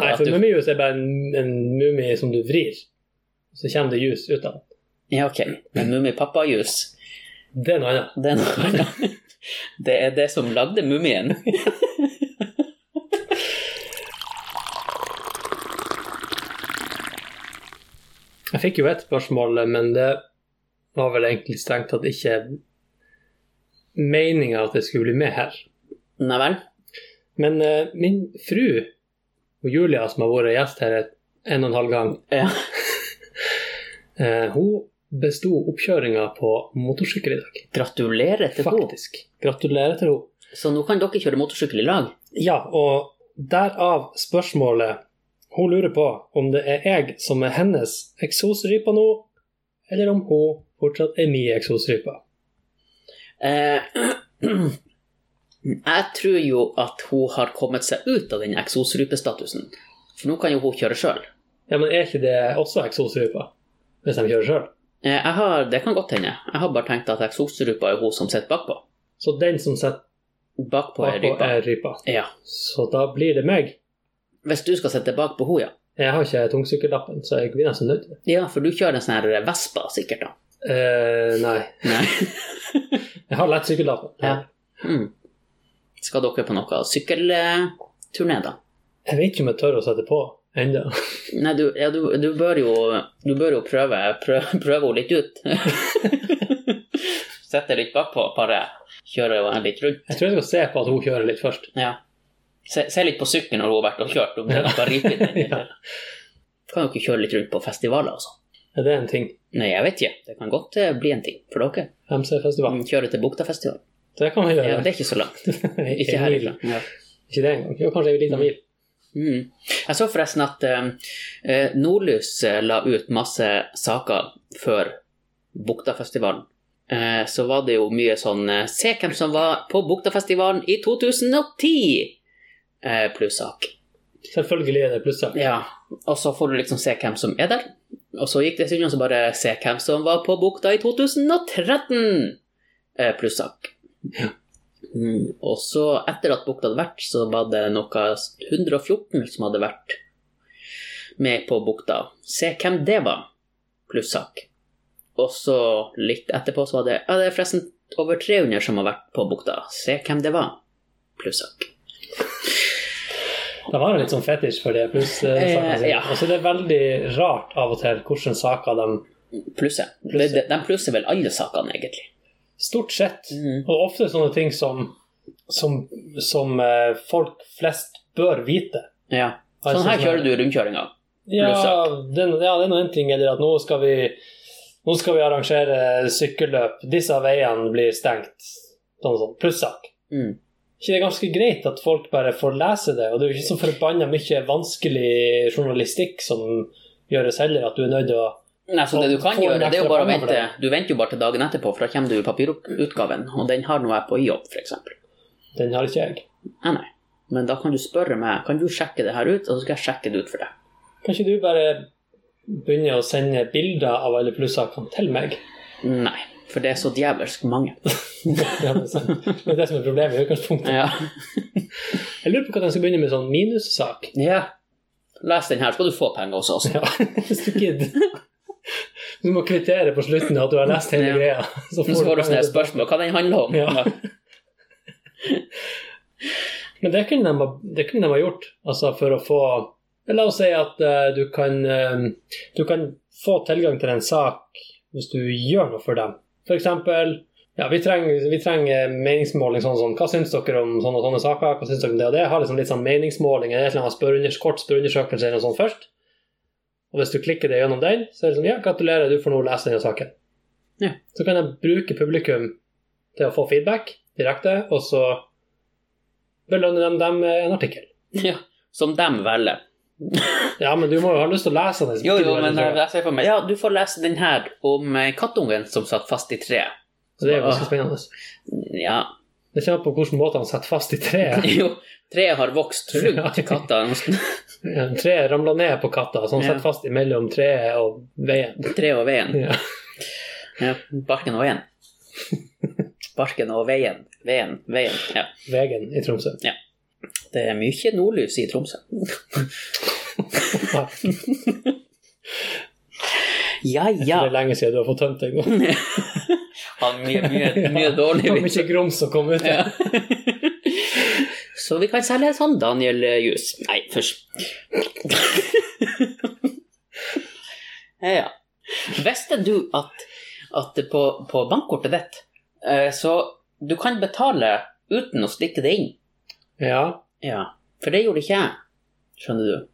Speaker 1: Nei,
Speaker 2: At
Speaker 1: for
Speaker 2: du-
Speaker 1: mummijus er bare en, en mumie som du vrir, og så kommer det jus ut av den.
Speaker 2: Ja, ok. Men mummipappajus,
Speaker 1: Det er noe annet.
Speaker 2: det er noe annet. Det er det som lagde mumien.
Speaker 1: Jeg fikk jo ett spørsmål, men det var vel egentlig strengt tatt ikke meninga at jeg skulle bli med her.
Speaker 2: Nei vel?
Speaker 1: Men eh, min fru, og Julia, som har vært gjest her et- en og en halv gang,
Speaker 2: Ja.
Speaker 1: eh, hun besto oppkjøringa på motorsykkel i dag.
Speaker 2: Gratulerer til henne.
Speaker 1: Faktisk. Gratulerer til henne.
Speaker 2: Så nå kan dere kjøre motorsykkel i lag.
Speaker 1: Ja, og derav spørsmålet Hun lurer på om det er jeg som er hennes eksosrype nå, eller om hun fortsatt er min eksosrype.
Speaker 2: Eh, jeg tror jo at hun har kommet seg ut av den eksosrupestatusen. For nå kan jo hun kjøre sjøl.
Speaker 1: Ja, men er ikke det også eksosrype? Hvis de kjører sjøl?
Speaker 2: Eh, jeg har- det kan godt hende. Jeg har bare tenkt at eksosrupa er hun som sitter bakpå.
Speaker 1: Så den som sitter
Speaker 2: Bakpå er
Speaker 1: bakpå,
Speaker 2: rypa.
Speaker 1: er rypa.
Speaker 2: Ja.
Speaker 1: Så da blir det meg.
Speaker 2: Hvis du skal sitte bak på henne, ja.
Speaker 1: Jeg har ikke tungsykkellappen, så jeg blir nesten nødt til det.
Speaker 2: Ja, for du kjører en sånn her Vespa, sikkert, da.
Speaker 1: Eh, nei.
Speaker 2: Nei.
Speaker 1: Jeg har lettsykkellappen.
Speaker 2: Ja. Mm. Skal dere på noe sykkelturné, da?
Speaker 1: Jeg vet ikke om jeg tør å sette på ennå.
Speaker 2: Nei, du, ja, du, du bør jo, du bør jo prøve, prøve, prøve henne litt ut. Sette litt bakpå, bare kjøre henne litt rundt.
Speaker 1: Jeg tror jeg skal se på at hun kjører litt først.
Speaker 2: Ja. Se, se litt på sykkelen når hun har vært og kjørt. Om det bare riper inn i den.
Speaker 1: Ja.
Speaker 2: Kan jo ikke kjøre litt rundt på festivaler og sånn.
Speaker 1: Er det en ting?
Speaker 2: Nei, jeg vet ikke. Det kan godt eh, bli en ting for dere.
Speaker 1: MC-festival.
Speaker 2: Kjøre til Buktafestival.
Speaker 1: Det kan vi
Speaker 2: Ja,
Speaker 1: gjøre.
Speaker 2: det er ikke så langt.
Speaker 1: Nei,
Speaker 2: Ikke
Speaker 1: en mil.
Speaker 2: herifra. Ja.
Speaker 1: Ikke det engang. Jo, kanskje en liten mil.
Speaker 2: Mm. Jeg så forresten at eh, eh, Nordlys eh, la ut masse saker før Buktafestivalen. Eh, så var det jo mye sånn eh, Se hvem som var på Buktafestivalen i 2010! Eh, Plussak.
Speaker 1: Selvfølgelig er det plusser.
Speaker 2: Ja. Og så får du liksom se hvem som er der. Og så gikk det sikkert så bare Se hvem som var på Bukta i 2013! Eh, Plussak. Mm. Og så, etter at Bukta hadde vært, så var det noe 114 som hadde vært med på Bukta. Se hvem det var! Plussak. Og så litt etterpå så var det Ja, det er forresten over 300 som har vært på Bukta. Se hvem det var! Plussak.
Speaker 1: Jeg har en litt sånn fetisj for det pluss-sakene
Speaker 2: Eh, ja.
Speaker 1: Og så er Altså, det veldig rart av og til hvilke saker de
Speaker 2: Plusser. De,
Speaker 1: Plusser.
Speaker 2: de de plusser vel alle sakene, egentlig.
Speaker 1: Stort sett.
Speaker 2: Mhm.
Speaker 1: Og ofte sånne ting som, som, som eh, folk flest bør vite.
Speaker 2: Ja.
Speaker 1: Altså,
Speaker 2: Sånn her
Speaker 1: sånn-
Speaker 2: kjører du rundkjøringa.
Speaker 1: Ja,
Speaker 2: Plussak.
Speaker 1: den, ja, det er nå en ting, eller at nå skal vi, nå skal vi arrangere sykkelløp. Disse veiene blir stengt. Sånn sånn. Plussak.
Speaker 2: Mm.
Speaker 1: Ikke det er ganske greit at folk bare får lese det, og det er jo ikke så forbanna mye vanskelig journalistikk som gjøres heller, at du er nødt til å
Speaker 2: Nei, så det du kan
Speaker 1: Få en
Speaker 2: gjøre, det er
Speaker 1: ekstra
Speaker 2: jo bare å
Speaker 1: penger for
Speaker 2: vente.
Speaker 1: det.
Speaker 2: Du venter jo bare til dagen etterpå, for da kommer du papirutgaven. Og den har nå jeg på jobb, f.eks.
Speaker 1: Den har ikke jeg.
Speaker 2: Nei, nei. Men da kan du spørre meg kan du sjekke det her ut, og så skal jeg sjekke det ut for deg.
Speaker 1: Kan ikke du bare begynne å sende bilder av alle plussakene til meg?
Speaker 2: Nei, for det er så djevelsk mange.
Speaker 1: Ja, Det er sant. Det er det som er problemet i utgangspunktet.
Speaker 2: Ja.
Speaker 1: Jeg lurer på hva de skal begynne med sånn minussak.
Speaker 2: ja. Les den her, skal du få penger hos oss.
Speaker 1: Ja, hvis du gidder. Du må kvittere på slutten at du har lest hele
Speaker 2: Ja.
Speaker 1: greia.
Speaker 2: Så får du sånne spørsmål hva den handler om.
Speaker 1: Ja. Men det kunne, de, ha- det kunne de ha gjort, altså for å få La oss si at eh, du, kan, eh, du kan få tilgang til en sak hvis du gjør noe for dem. F.eks. Ja, vi trenger, vi trenger meningsmåling sånn som Hva syns dere om sånne og sånne saker? Hva syns dere om det og det? Ha liksom litt sånn meningsmåling eller et eller annet spørreundersø- kort spørreundersøkelse eller noe sånt først. Og hvis du klikker deg gjennom den, så er det sånn Ja, gratulerer, du får nå lese denne saken.
Speaker 2: Ja.
Speaker 1: Så kan jeg bruke publikum til å få feedback direkte, og så belønner de dem med en artikkel.
Speaker 2: Ja. Som dem velger.
Speaker 1: Ja, men du må jo ha lyst til å lese den.
Speaker 2: Jo, jo, men eh, jeg ser for meg Ja, du får lese den her om eh, kattungen som satt fast i treet.
Speaker 1: Så det er jo ganske spennende.
Speaker 2: Ja.
Speaker 1: Det kommer an på hvilken måte han setter fast i treet.
Speaker 2: Jo, treet har vokst rundt
Speaker 1: Ja.
Speaker 2: katta.
Speaker 1: Treet ramler ned på katta, så han
Speaker 2: Ja.
Speaker 1: setter fast mellom treet og veien.
Speaker 2: Tre og veien.
Speaker 1: Ja.
Speaker 2: Ja, barken og veien. Barken og veien. Veien, veien. Ja.
Speaker 1: Vegen i Tromsø.
Speaker 2: Det er mye nordlys i Tromsø.
Speaker 1: Nei,
Speaker 2: Ja, ja.
Speaker 1: Det er lenge siden du har fått tømt deg nå.
Speaker 2: Har mye, mye, mye
Speaker 1: Ja,
Speaker 2: dårlig
Speaker 1: Det var
Speaker 2: lys.
Speaker 1: mye grums som kom ut.
Speaker 2: Ja. Så vi kan selge sånn Daniel eh, Jus. Nei, først. ja. Visste du at, at på, på bankkortet ditt, eh, så du kan betale uten å stikke det inn?
Speaker 1: Ja,
Speaker 2: Ja. For det gjorde ikke jeg, skjønner du.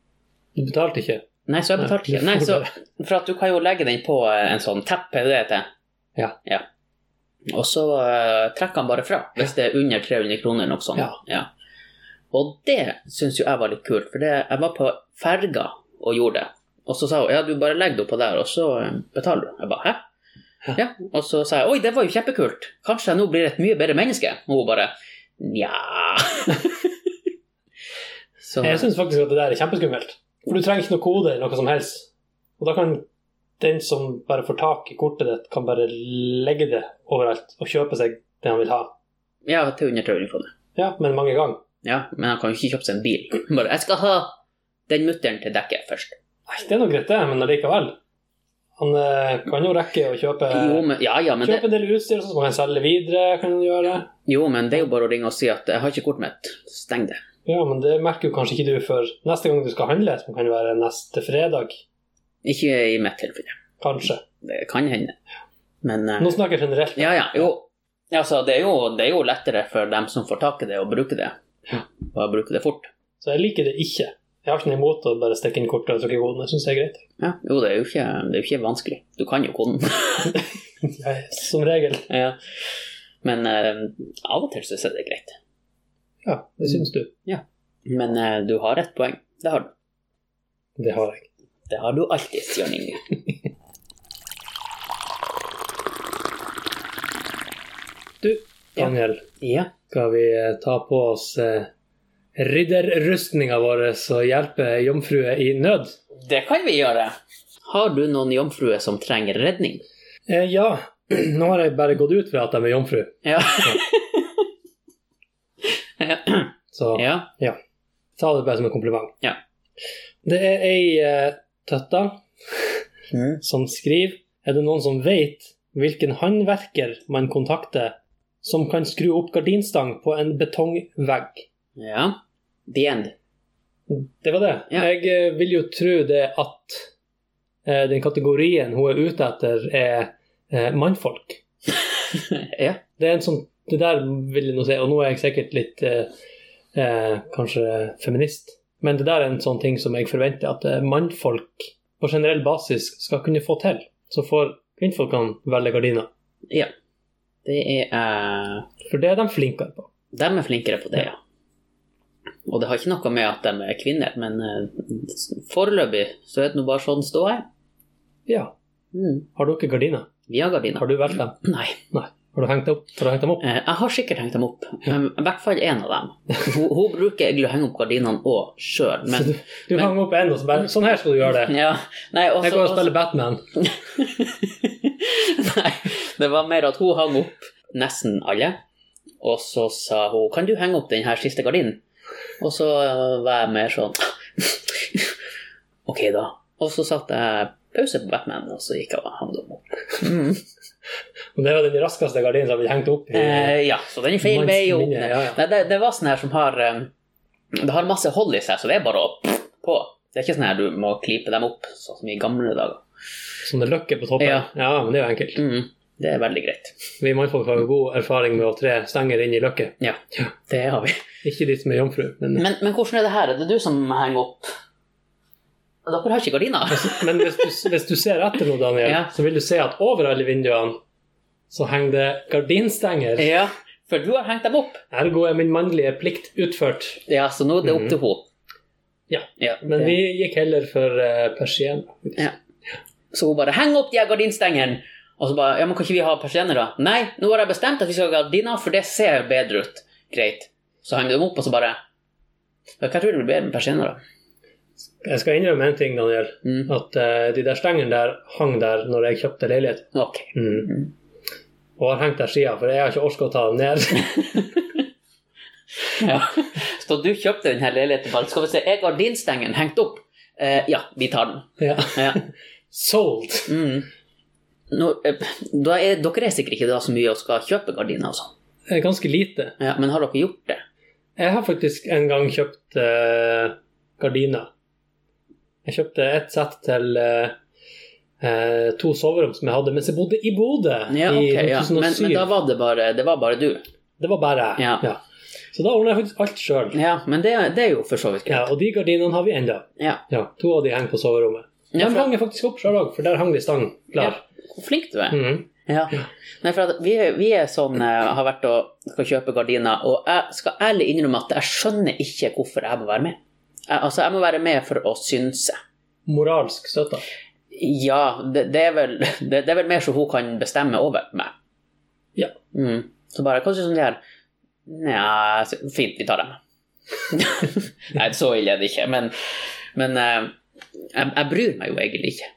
Speaker 1: du betalte ikke.
Speaker 2: Nei, så jeg betalte ikke.
Speaker 1: Nei, du
Speaker 2: Nei, så,
Speaker 1: får
Speaker 2: for at du kan jo legge den på eh, en sånn tepp, er det det heter?
Speaker 1: Ja.
Speaker 2: Og så eh, trekker han bare fra, hvis det er under 300 kroner eller noe sånt.
Speaker 1: Ja.
Speaker 2: Og det syns jo jeg var litt kult, for det, jeg var på ferga og gjorde det. Og så sa hun ja, du bare legger det oppå der, og så eh, betaler du. Jeg bare hæ?
Speaker 1: Ja.
Speaker 2: Ja. Og så sa jeg oi, det var jo kjempekult, kanskje jeg nå blir et mye bedre menneske? Og hun bare nja. så,
Speaker 1: Jeg syns faktisk at det der er kjempeskummelt. For du trenger ikke noe kode eller noe som helst. Og da kan den som bare får tak i kortet ditt, kan bare legge det overalt og kjøpe seg det han vil ha.
Speaker 2: ja, til under 300 kroner.
Speaker 1: Ja, men mange ganger.
Speaker 2: Ja, men han kan jo ikke kjøpe seg en bil. Bare, jeg skal ha den mutteren til dekket først.
Speaker 1: Nei, det er nå greit, det, men allikevel. Han eh, kan jo rekke å kjøpe
Speaker 2: Jo, men, ja, ja, men det,
Speaker 1: Kjøpe en del utstyr, sånn som han kan selge videre. kan han gjøre
Speaker 2: jo, men det er jo bare å ringe og si at jeg har ikke kortet mitt. Steng det.
Speaker 1: Ja, men det merker jo kanskje ikke du før neste gang du skal handle, som kan være neste fredag,
Speaker 2: Ikke i mitt tilfelle.
Speaker 1: kanskje.
Speaker 2: Det kan hende. Men eh,
Speaker 1: Nå snakker jeg generelt.
Speaker 2: Ja, ja, jo. Altså, det er jo, det er jo lettere for dem som får tak i det, å bruke det.
Speaker 1: Ja.
Speaker 2: Bare bruke det fort.
Speaker 1: Så jeg liker det ikke. Jeg har ikke noe imot å bare stikke inn kortet og trykke koden. Jeg syns det er greit.
Speaker 2: Ja, jo, det er jo ikke, det er jo ikke vanskelig. Du kan jo koden.
Speaker 1: Jeg, som regel.
Speaker 2: ja. Men eh, av og til syns jeg det er greit.
Speaker 1: Ja, det syns du.
Speaker 2: Men eh, du har ett poeng. Det har du.
Speaker 1: Det har jeg.
Speaker 2: Det har du alltid, Bjørn Inge. Ja.
Speaker 1: Daniel,
Speaker 2: Ja.
Speaker 1: skal vi eh, ta på oss eh, ridderrustninga vår og hjelpe jomfruer i nød?
Speaker 2: Det kan vi gjøre. Har du noen jomfruer som trenger redning?
Speaker 1: Eh, ja. Nå har jeg bare gått ut fra at de er jomfru,
Speaker 2: Ja.
Speaker 1: så
Speaker 2: ja.
Speaker 1: ta det bare som en kompliment.
Speaker 2: Ja.
Speaker 1: Det er ei eh, tøtta som skriver Er det noen som vet hvilken håndverker man kontakter som kan skru opp gardinstang på en betongvegg?
Speaker 2: ja. The end.
Speaker 1: Det var det.
Speaker 2: Ja.
Speaker 1: Jeg eh, vil jo tro det at eh, den kategorien hun er ute etter, er eh, mannfolk.
Speaker 2: Ja.
Speaker 1: Det er en sånn Det der vil jeg nå si, og nå er jeg sikkert litt eh, eh, kanskje feminist, men det der er en sånn ting som jeg forventer at eh, mannfolk på generell basis skal kunne få til. Så får kvinnfolkene velge gardiner.
Speaker 2: Det er eh,
Speaker 1: For det er de flinkere på.
Speaker 2: De er flinkere på det, ja. Og det har ikke noe med at de er kvinner, men eh, foreløpig så er det nå bare sånn ståa er.
Speaker 1: Ja.
Speaker 2: Mm.
Speaker 1: Har dere gardiner?
Speaker 2: Vi har gardiner.
Speaker 1: Har du valgt dem?
Speaker 2: Nei.
Speaker 1: Har du hengt, opp? Har du hengt dem opp?
Speaker 2: Eh, Jeg har sikkert hengt dem opp.
Speaker 1: Ja.
Speaker 2: Um, I hvert fall én av dem. Hun, hun bruker egentlig å henge opp gardinene òg sjøl,
Speaker 1: Så
Speaker 2: men
Speaker 1: du du
Speaker 2: men- Altså,
Speaker 1: hang opp en og så bare Sånn her skal du gjøre det.
Speaker 2: ja, nei, også,
Speaker 1: Jeg går og spiller Batman.
Speaker 2: nei, det var mer at hun hang opp nesten alle, og så sa hun 'Kan du henge opp den her siste gardinen?' Og så eh, var jeg mer sånn Ok, da. Og så satte jeg pause på Batman, og så gikk jeg og hang dem opp. Mm.
Speaker 1: Og det var den raskeste gardinen som har blitt hengt opp. i
Speaker 2: Eh, ja, så den er feil
Speaker 1: manns
Speaker 2: vei å
Speaker 1: minne.
Speaker 2: åpne.
Speaker 1: Ja, ja.
Speaker 2: Nei, det, det var sånn her som har eh, Det har masse hold i seg, så det er bare å pff, på. Det er ikke sånn her du må klype dem opp, sånn som i gamle dager.
Speaker 1: Som det løkker på toppen. Ja.
Speaker 2: Ja.
Speaker 1: men det er jo enkelt.
Speaker 2: Mm, det er veldig greit.
Speaker 1: Vi mannfolk har jo god erfaring med å tre stenger inn i løkke.
Speaker 2: Det har vi.
Speaker 1: Ikke de som er jomfru, men,
Speaker 2: Men, men hvordan er det her? Er det du som henger opp? Dere har ikke gardiner?
Speaker 1: men hvis, du, hvis du ser etter nå, Daniel,
Speaker 2: Ja.
Speaker 1: så vil du se at over alle vinduene så henger det gardinstenger.
Speaker 2: ja, for du har hengt dem opp.
Speaker 1: Ergo er min mannlige plikt utført.
Speaker 2: Ja, så nå er det opp til henne.
Speaker 1: Ja.
Speaker 2: det-
Speaker 1: Mhm. Men vi gikk heller for eh, persienner.
Speaker 2: Så hun bare 'heng opp de her gardinstengene'. Og så bare 'ja, men kan ikke vi ha persienner, da?' 'Nei, nå har jeg bestemt at vi skal ha gardiner, for det ser bedre ut'. Greit. Så henger vi dem opp, og så bare «Ja, Hva tror du blir bedre med persienner, da?
Speaker 1: Jeg skal innrømme en ting, Daniel.
Speaker 2: Mm.
Speaker 1: At eh, de der stengene der hang der når jeg kjøpte leilighet.
Speaker 2: Ok.
Speaker 1: Mm. Og har hengt der siden, for jeg har ikke orket å ta dem ned.
Speaker 2: Ja. Så du kjøpte denne leiligheten bare Skal vi se, er gardinstengen hengt opp? Eh, ja, vi tar den.
Speaker 1: ja.
Speaker 2: Ja.
Speaker 1: Sold!
Speaker 2: Mm. Nå, eh, da er, dere er sikkert ikke da så mye og skal kjøpe gardiner og sånn,
Speaker 1: Det er Ganske lite.
Speaker 2: ja, men har dere gjort det?
Speaker 1: Jeg har faktisk en gang kjøpt eh, gardiner. Jeg kjøpte et sett til eh, eh, to soverom som jeg hadde mens jeg bodde i Bodø
Speaker 2: Ja, ok,
Speaker 1: i
Speaker 2: ja.
Speaker 1: 2007.
Speaker 2: Men, men da var det bare, det var bare du?
Speaker 1: Det var bare jeg.
Speaker 2: Ja.
Speaker 1: Så da ordnet jeg faktisk alt sjøl.
Speaker 2: Ja, men det, det er jo for så vidt
Speaker 1: Ja,
Speaker 2: greit.
Speaker 1: og de gardinene har vi ennå.
Speaker 2: Ja.
Speaker 1: Ja, to av de henger på soverommet. De
Speaker 2: Ja, for-
Speaker 1: hang jeg faktisk opp sjøl òg, for der hang de stang klar.
Speaker 2: Hvor flink du er.
Speaker 1: Mhm.
Speaker 2: Mm. Ja. Nei, for at vi, vi er sånn, eh, har vært og skal kjøpe gardiner, og jeg skal ærlig innrømme at jeg skjønner ikke hvorfor jeg må være med. Jeg, altså, jeg må være med for å synse.
Speaker 1: Moralsk støtta.
Speaker 2: Ja, det, det, er vel, det, det er vel mer så hun kan bestemme over meg.
Speaker 1: Ja.
Speaker 2: Mm. Så bare, hva synes du om det her? Nja, så- fint, vi tar dem. Nei, så ille er det ikke, men, men eh, jeg, jeg bryr meg jo egentlig ikke.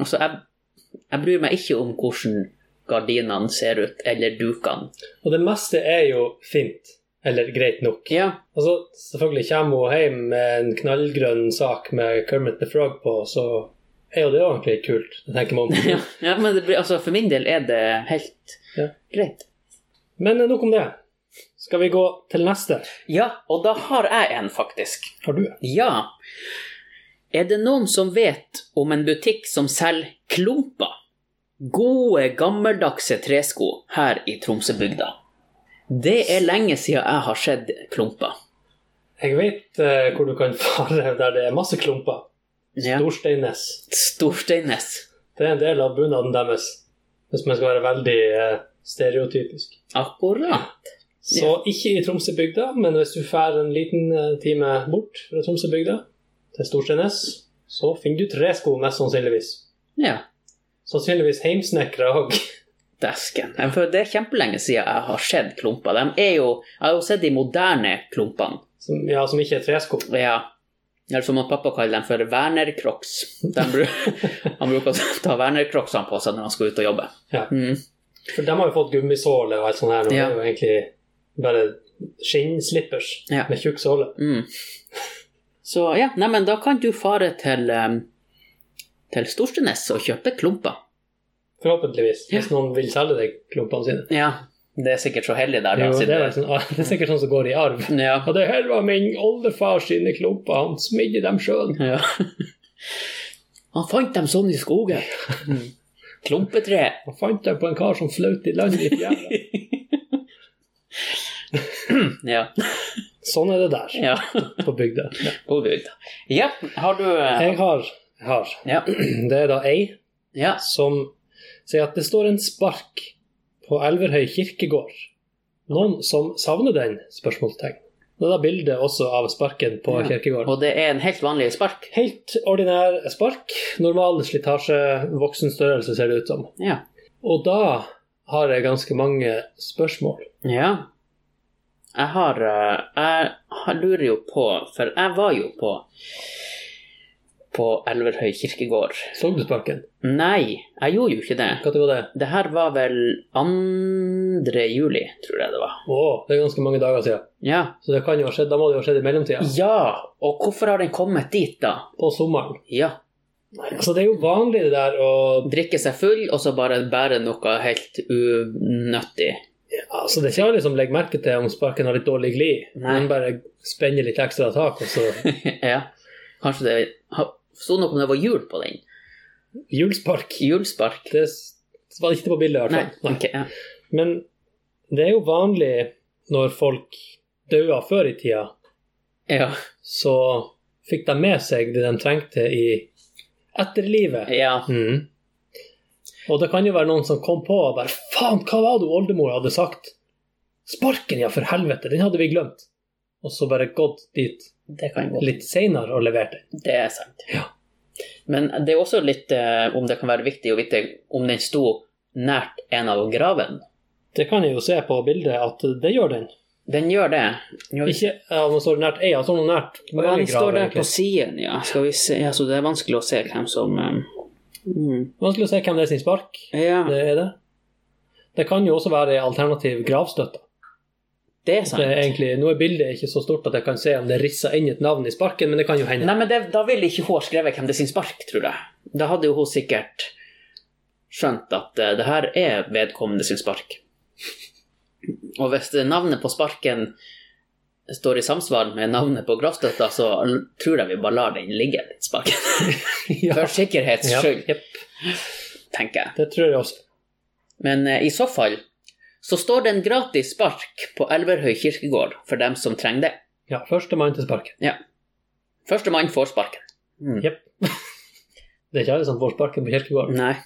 Speaker 2: Altså, jeg, jeg bryr meg ikke om hvordan gardinene ser ut, eller dukene.
Speaker 1: Og det meste er jo fint, eller greit nok.
Speaker 2: Ja,
Speaker 1: Og så Altså, selvfølgelig kommer hun hjem med en knallgrønn sak med Kermit the Frog på, så er jo det jo egentlig kult, det tenker
Speaker 2: ja,
Speaker 1: man.
Speaker 2: ja men det, blir- altså, for min del er det helt
Speaker 1: Ja.
Speaker 2: greit.
Speaker 1: Men eh, nok om det. Skal vi gå til neste?
Speaker 2: Ja, og da har jeg en, faktisk.
Speaker 1: Har du?
Speaker 2: Ja. Er det noen som vet om en butikk som selger klumper? Gode, gammeldagse tresko her i Tromsøbygda. Det er lenge siden jeg har sett klumper.
Speaker 1: Jeg vet eh, hvor du kan fare der det er masse klumper.
Speaker 2: Ja.
Speaker 1: Storsteinnes.
Speaker 2: Storsteinnes.
Speaker 1: Det er en del av bunaden deres, hvis man skal være veldig eh, stereotypisk.
Speaker 2: Akkurat.
Speaker 1: Så ikke i Tromsøbygda, men hvis du drar en liten eh, time bort fra Tromsøbygda, til Storsteinnes, så finner du tresko, mest sannsynligvis.
Speaker 2: Ja.
Speaker 1: Sannsynligvis heimsnekra òg.
Speaker 2: Dæsken. Ja, For det er kjempelenge siden jeg har sett klumper. De er jo, jeg har jo sett de moderne klumpene.
Speaker 1: Som, ja, som ikke er tresko.
Speaker 2: Ja. Eller som at pappa kaller dem for Werner-crocs. De bru- Han bruker å ta Werner-crocsene på seg når han skal ut og jobbe.
Speaker 1: Ja.
Speaker 2: Mm.
Speaker 1: For de har jo fått gummisåle og alt sånt her. nå.
Speaker 2: Ja.
Speaker 1: Det er jo egentlig bare skinnslippers
Speaker 2: Ja.
Speaker 1: med tjukk såle.
Speaker 2: Mm. Så ja, nei, men da kan du fare til, um, til Storstenes og kjøpe klumper.
Speaker 1: Forhåpentligvis. Hvis noen vil selge deg klumpene sine.
Speaker 2: Ja. Det er sikkert så heldig der, da.
Speaker 1: Jo,
Speaker 2: siden
Speaker 1: det, er vel sånn, det er sikkert sånn som går i arv.
Speaker 2: ja.
Speaker 1: Og det her var min oldefar sine klumper, han smidde dem sjøl.
Speaker 2: ja. Han fant dem sånn i skogen. Mm. Klumpetre.
Speaker 1: Han fant dem på en kar som fløt i land i fjæra.
Speaker 2: Ja.
Speaker 1: Sånn er det der,
Speaker 2: ja.
Speaker 1: på bygda. Ja.
Speaker 2: God bygd. Ja, har du eh,
Speaker 1: Jeg har, har
Speaker 2: Ja.
Speaker 1: Det er da ei
Speaker 2: ja.
Speaker 1: som sier at det står en spark på Elverhøy kirkegård. Noen som savner den? spørsmålstegn. Det er da bildet også av sparken på
Speaker 2: Ja.
Speaker 1: kirkegården.
Speaker 2: Og det er en helt vanlig spark.
Speaker 1: Helt ordinær spark. Normal slitasje, voksen størrelse ser det ut som.
Speaker 2: Ja.
Speaker 1: Og da har jeg ganske mange spørsmål.
Speaker 2: ja. Jeg har eh, Jeg har- lurer jo på For jeg var jo på på Elverhøy kirkegård.
Speaker 1: Så du sparken?
Speaker 2: Nei, jeg gjorde jo ikke det.
Speaker 1: Når var det?
Speaker 2: Det her var vel 2. juli, tror jeg det var.
Speaker 1: Å, det er ganske mange dager siden.
Speaker 2: Ja.
Speaker 1: Så det kan jo ha skjedd, da må det jo ha skjedd i mellomtida.
Speaker 2: ja, og hvorfor har den kommet dit, da?
Speaker 1: På sommeren.
Speaker 2: Ja.
Speaker 1: Så det er jo vanlig det der å
Speaker 2: Drikke seg full, og så bare bære noe helt unyttig.
Speaker 1: Altså, det er ikke alle som legger merke til om sparken har litt dårlig glid.
Speaker 2: Nei.
Speaker 1: Den bare spenner litt ekstra tak, og så
Speaker 2: ja. Kanskje det ha- sto noe om det var hjul på den.
Speaker 1: hjulspark.
Speaker 2: Hjulspark.
Speaker 1: Det s- var ikke på bildet, i
Speaker 2: Nei.
Speaker 1: hvert fall. Nei.
Speaker 2: ok, ja.
Speaker 1: Men det er jo vanlig når folk døde før i tida,
Speaker 2: Ja.
Speaker 1: så fikk de med seg det de trengte i etterlivet.
Speaker 2: ja.
Speaker 1: Mhm. Og det kan jo være noen som kom på og bare Faen, hva var det oldemor hadde sagt? Sparken, ja, for helvete, den hadde vi glemt. Og så bare gått dit
Speaker 2: Det kan gå.
Speaker 1: litt seinere og levert den.
Speaker 2: Det er sant.
Speaker 1: Ja.
Speaker 2: Men det er også litt eh, om det kan være viktig å vite om den sto nært en av graven.
Speaker 1: Det kan jeg jo se på bildet at det gjør den.
Speaker 2: Den gjør det. Jo,
Speaker 1: Ikke ja, om den står nært ei, han står nå nært
Speaker 2: Ja, den
Speaker 1: mange grader.
Speaker 2: står der på
Speaker 1: egentlig.
Speaker 2: siden, ja. Skal vi se. Ja, så det er vanskelig å se hvem som eh, mm.
Speaker 1: Vanskelig å se hvem det er sin spark.
Speaker 2: Ja,
Speaker 1: Det er det. Det kan jo også være en alternativ gravstøtte.
Speaker 2: det er
Speaker 1: Det
Speaker 2: sant.
Speaker 1: er egentlig, nå er bildet ikke så stort at jeg kan se om det er rissa inn et navn i sparken, men det kan jo hende.
Speaker 2: Nei, men det, da ville ikke hun ha skrevet hvem det er sin spark, tror jeg. Da hadde jo hun sikkert skjønt at eh, det her er vedkommende sin spark. Og hvis det navnet på sparken står i samsvar med navnet på gravstøtta, så l- tror jeg vi bare lar den ligge, den sparken.
Speaker 1: Ja.
Speaker 2: For sikkerhets
Speaker 1: Ja,
Speaker 2: skyld,
Speaker 1: jepp.
Speaker 2: tenker jeg.
Speaker 1: Det tror jeg også.
Speaker 2: Men eh, i så fall så står det en gratis spark på Elverhøy kirkegård for dem som trenger det.
Speaker 1: Ja, Førstemann til sparken.
Speaker 2: Førstemann får sparken. Mm.
Speaker 1: Jepp. Det er ikke alle som får sparken på kirkegården.
Speaker 2: Nei.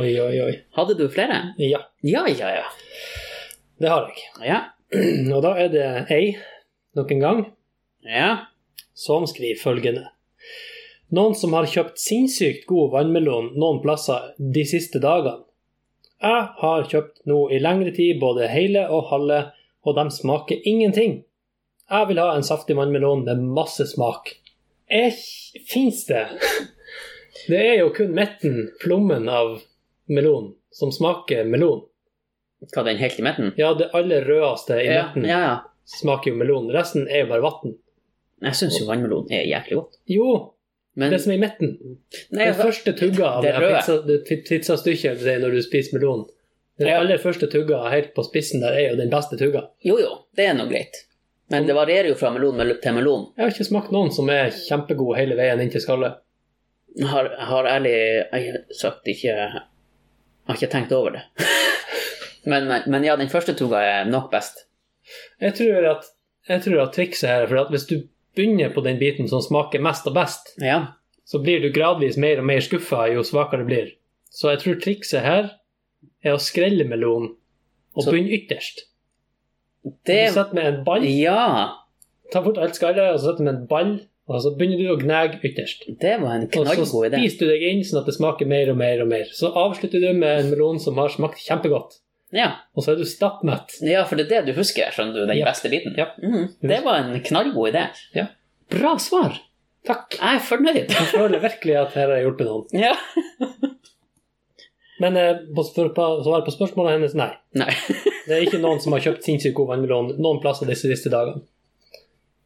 Speaker 1: Oi, oi, oi.
Speaker 2: Hadde du flere?
Speaker 1: Ja,
Speaker 2: Ja, ja, ja.
Speaker 1: det har jeg.
Speaker 2: Ja,
Speaker 1: Og da er det ei, nok en gang,
Speaker 2: ja.
Speaker 1: som skriver følgende. Noen som har kjøpt sinnssykt god vannmelon noen plasser de siste dagene. Jeg har kjøpt nå i lengre tid både hele og halve, og de smaker ingenting. Jeg vil ha en saftig vannmelon med masse smak. Fins det? Det er jo kun midten, plommen av melon, som smaker melon.
Speaker 2: Hva, den helt i midten?
Speaker 1: Ja, det aller rødeste i
Speaker 2: Ja,
Speaker 1: midten
Speaker 2: ja, ja.
Speaker 1: smaker jo melon. Resten er jo bare vann.
Speaker 2: Jeg syns jo vannmelon er jæklig godt.
Speaker 1: Jo,
Speaker 2: Men
Speaker 1: det som er i midten.
Speaker 2: nei, altså,
Speaker 1: Den første tugga av
Speaker 2: Det
Speaker 1: det,
Speaker 2: er
Speaker 1: her
Speaker 2: røde.
Speaker 1: pizza, det pi- pizzastykket det er når du spiser melon. Den
Speaker 2: Ja.
Speaker 1: aller første tugga helt på spissen der er jo den beste tugga.
Speaker 2: jo, jo, det er nå greit. Men det varierer jo fra melon mel- til melon.
Speaker 1: Jeg har ikke smakt noen som er kjempegod hele veien inn til skallet.
Speaker 2: Har, har ærlig jeg har sagt ikke Har ikke tenkt over det. men, men ja, den første toga er nok best.
Speaker 1: Jeg tror at, jeg tror at trikset her er for at hvis du begynner på den biten som smaker mest og best,
Speaker 2: Ja.
Speaker 1: så blir du gradvis mer og mer skuffa jo svakere det blir. Så jeg tror trikset her er å skrelle melon og
Speaker 2: Så-
Speaker 1: begynne ytterst.
Speaker 2: Det
Speaker 1: Du setter med en ball,
Speaker 2: Ja!
Speaker 1: ta bort alt skallet, og så setter du med en ball, og så begynner du å gnage ytterst.
Speaker 2: Det var en
Speaker 1: Og så
Speaker 2: knallgod idé.
Speaker 1: spiser du deg inn sånn at det smaker mer og mer og mer. Så avslutter du med en melon som har smakt kjempegodt,
Speaker 2: Ja.
Speaker 1: og så er du stappmett.
Speaker 2: ja, for det er det du husker, skjønner du, den
Speaker 1: Ja.
Speaker 2: beste biten.
Speaker 1: Ja.
Speaker 2: Mm, det var en knallgod idé.
Speaker 1: Ja.
Speaker 2: Bra svar. Takk. Jeg er fornøyd.
Speaker 1: Jeg føler virkelig at her har jeg hjulpet noen.
Speaker 2: ja.
Speaker 1: Men eh, på- for å svare på spørsmålet hennes, nei.
Speaker 2: Nei.
Speaker 1: Det er ikke noen som har kjøpt sinnssykt god vannmelon noen plasser disse siste dagene.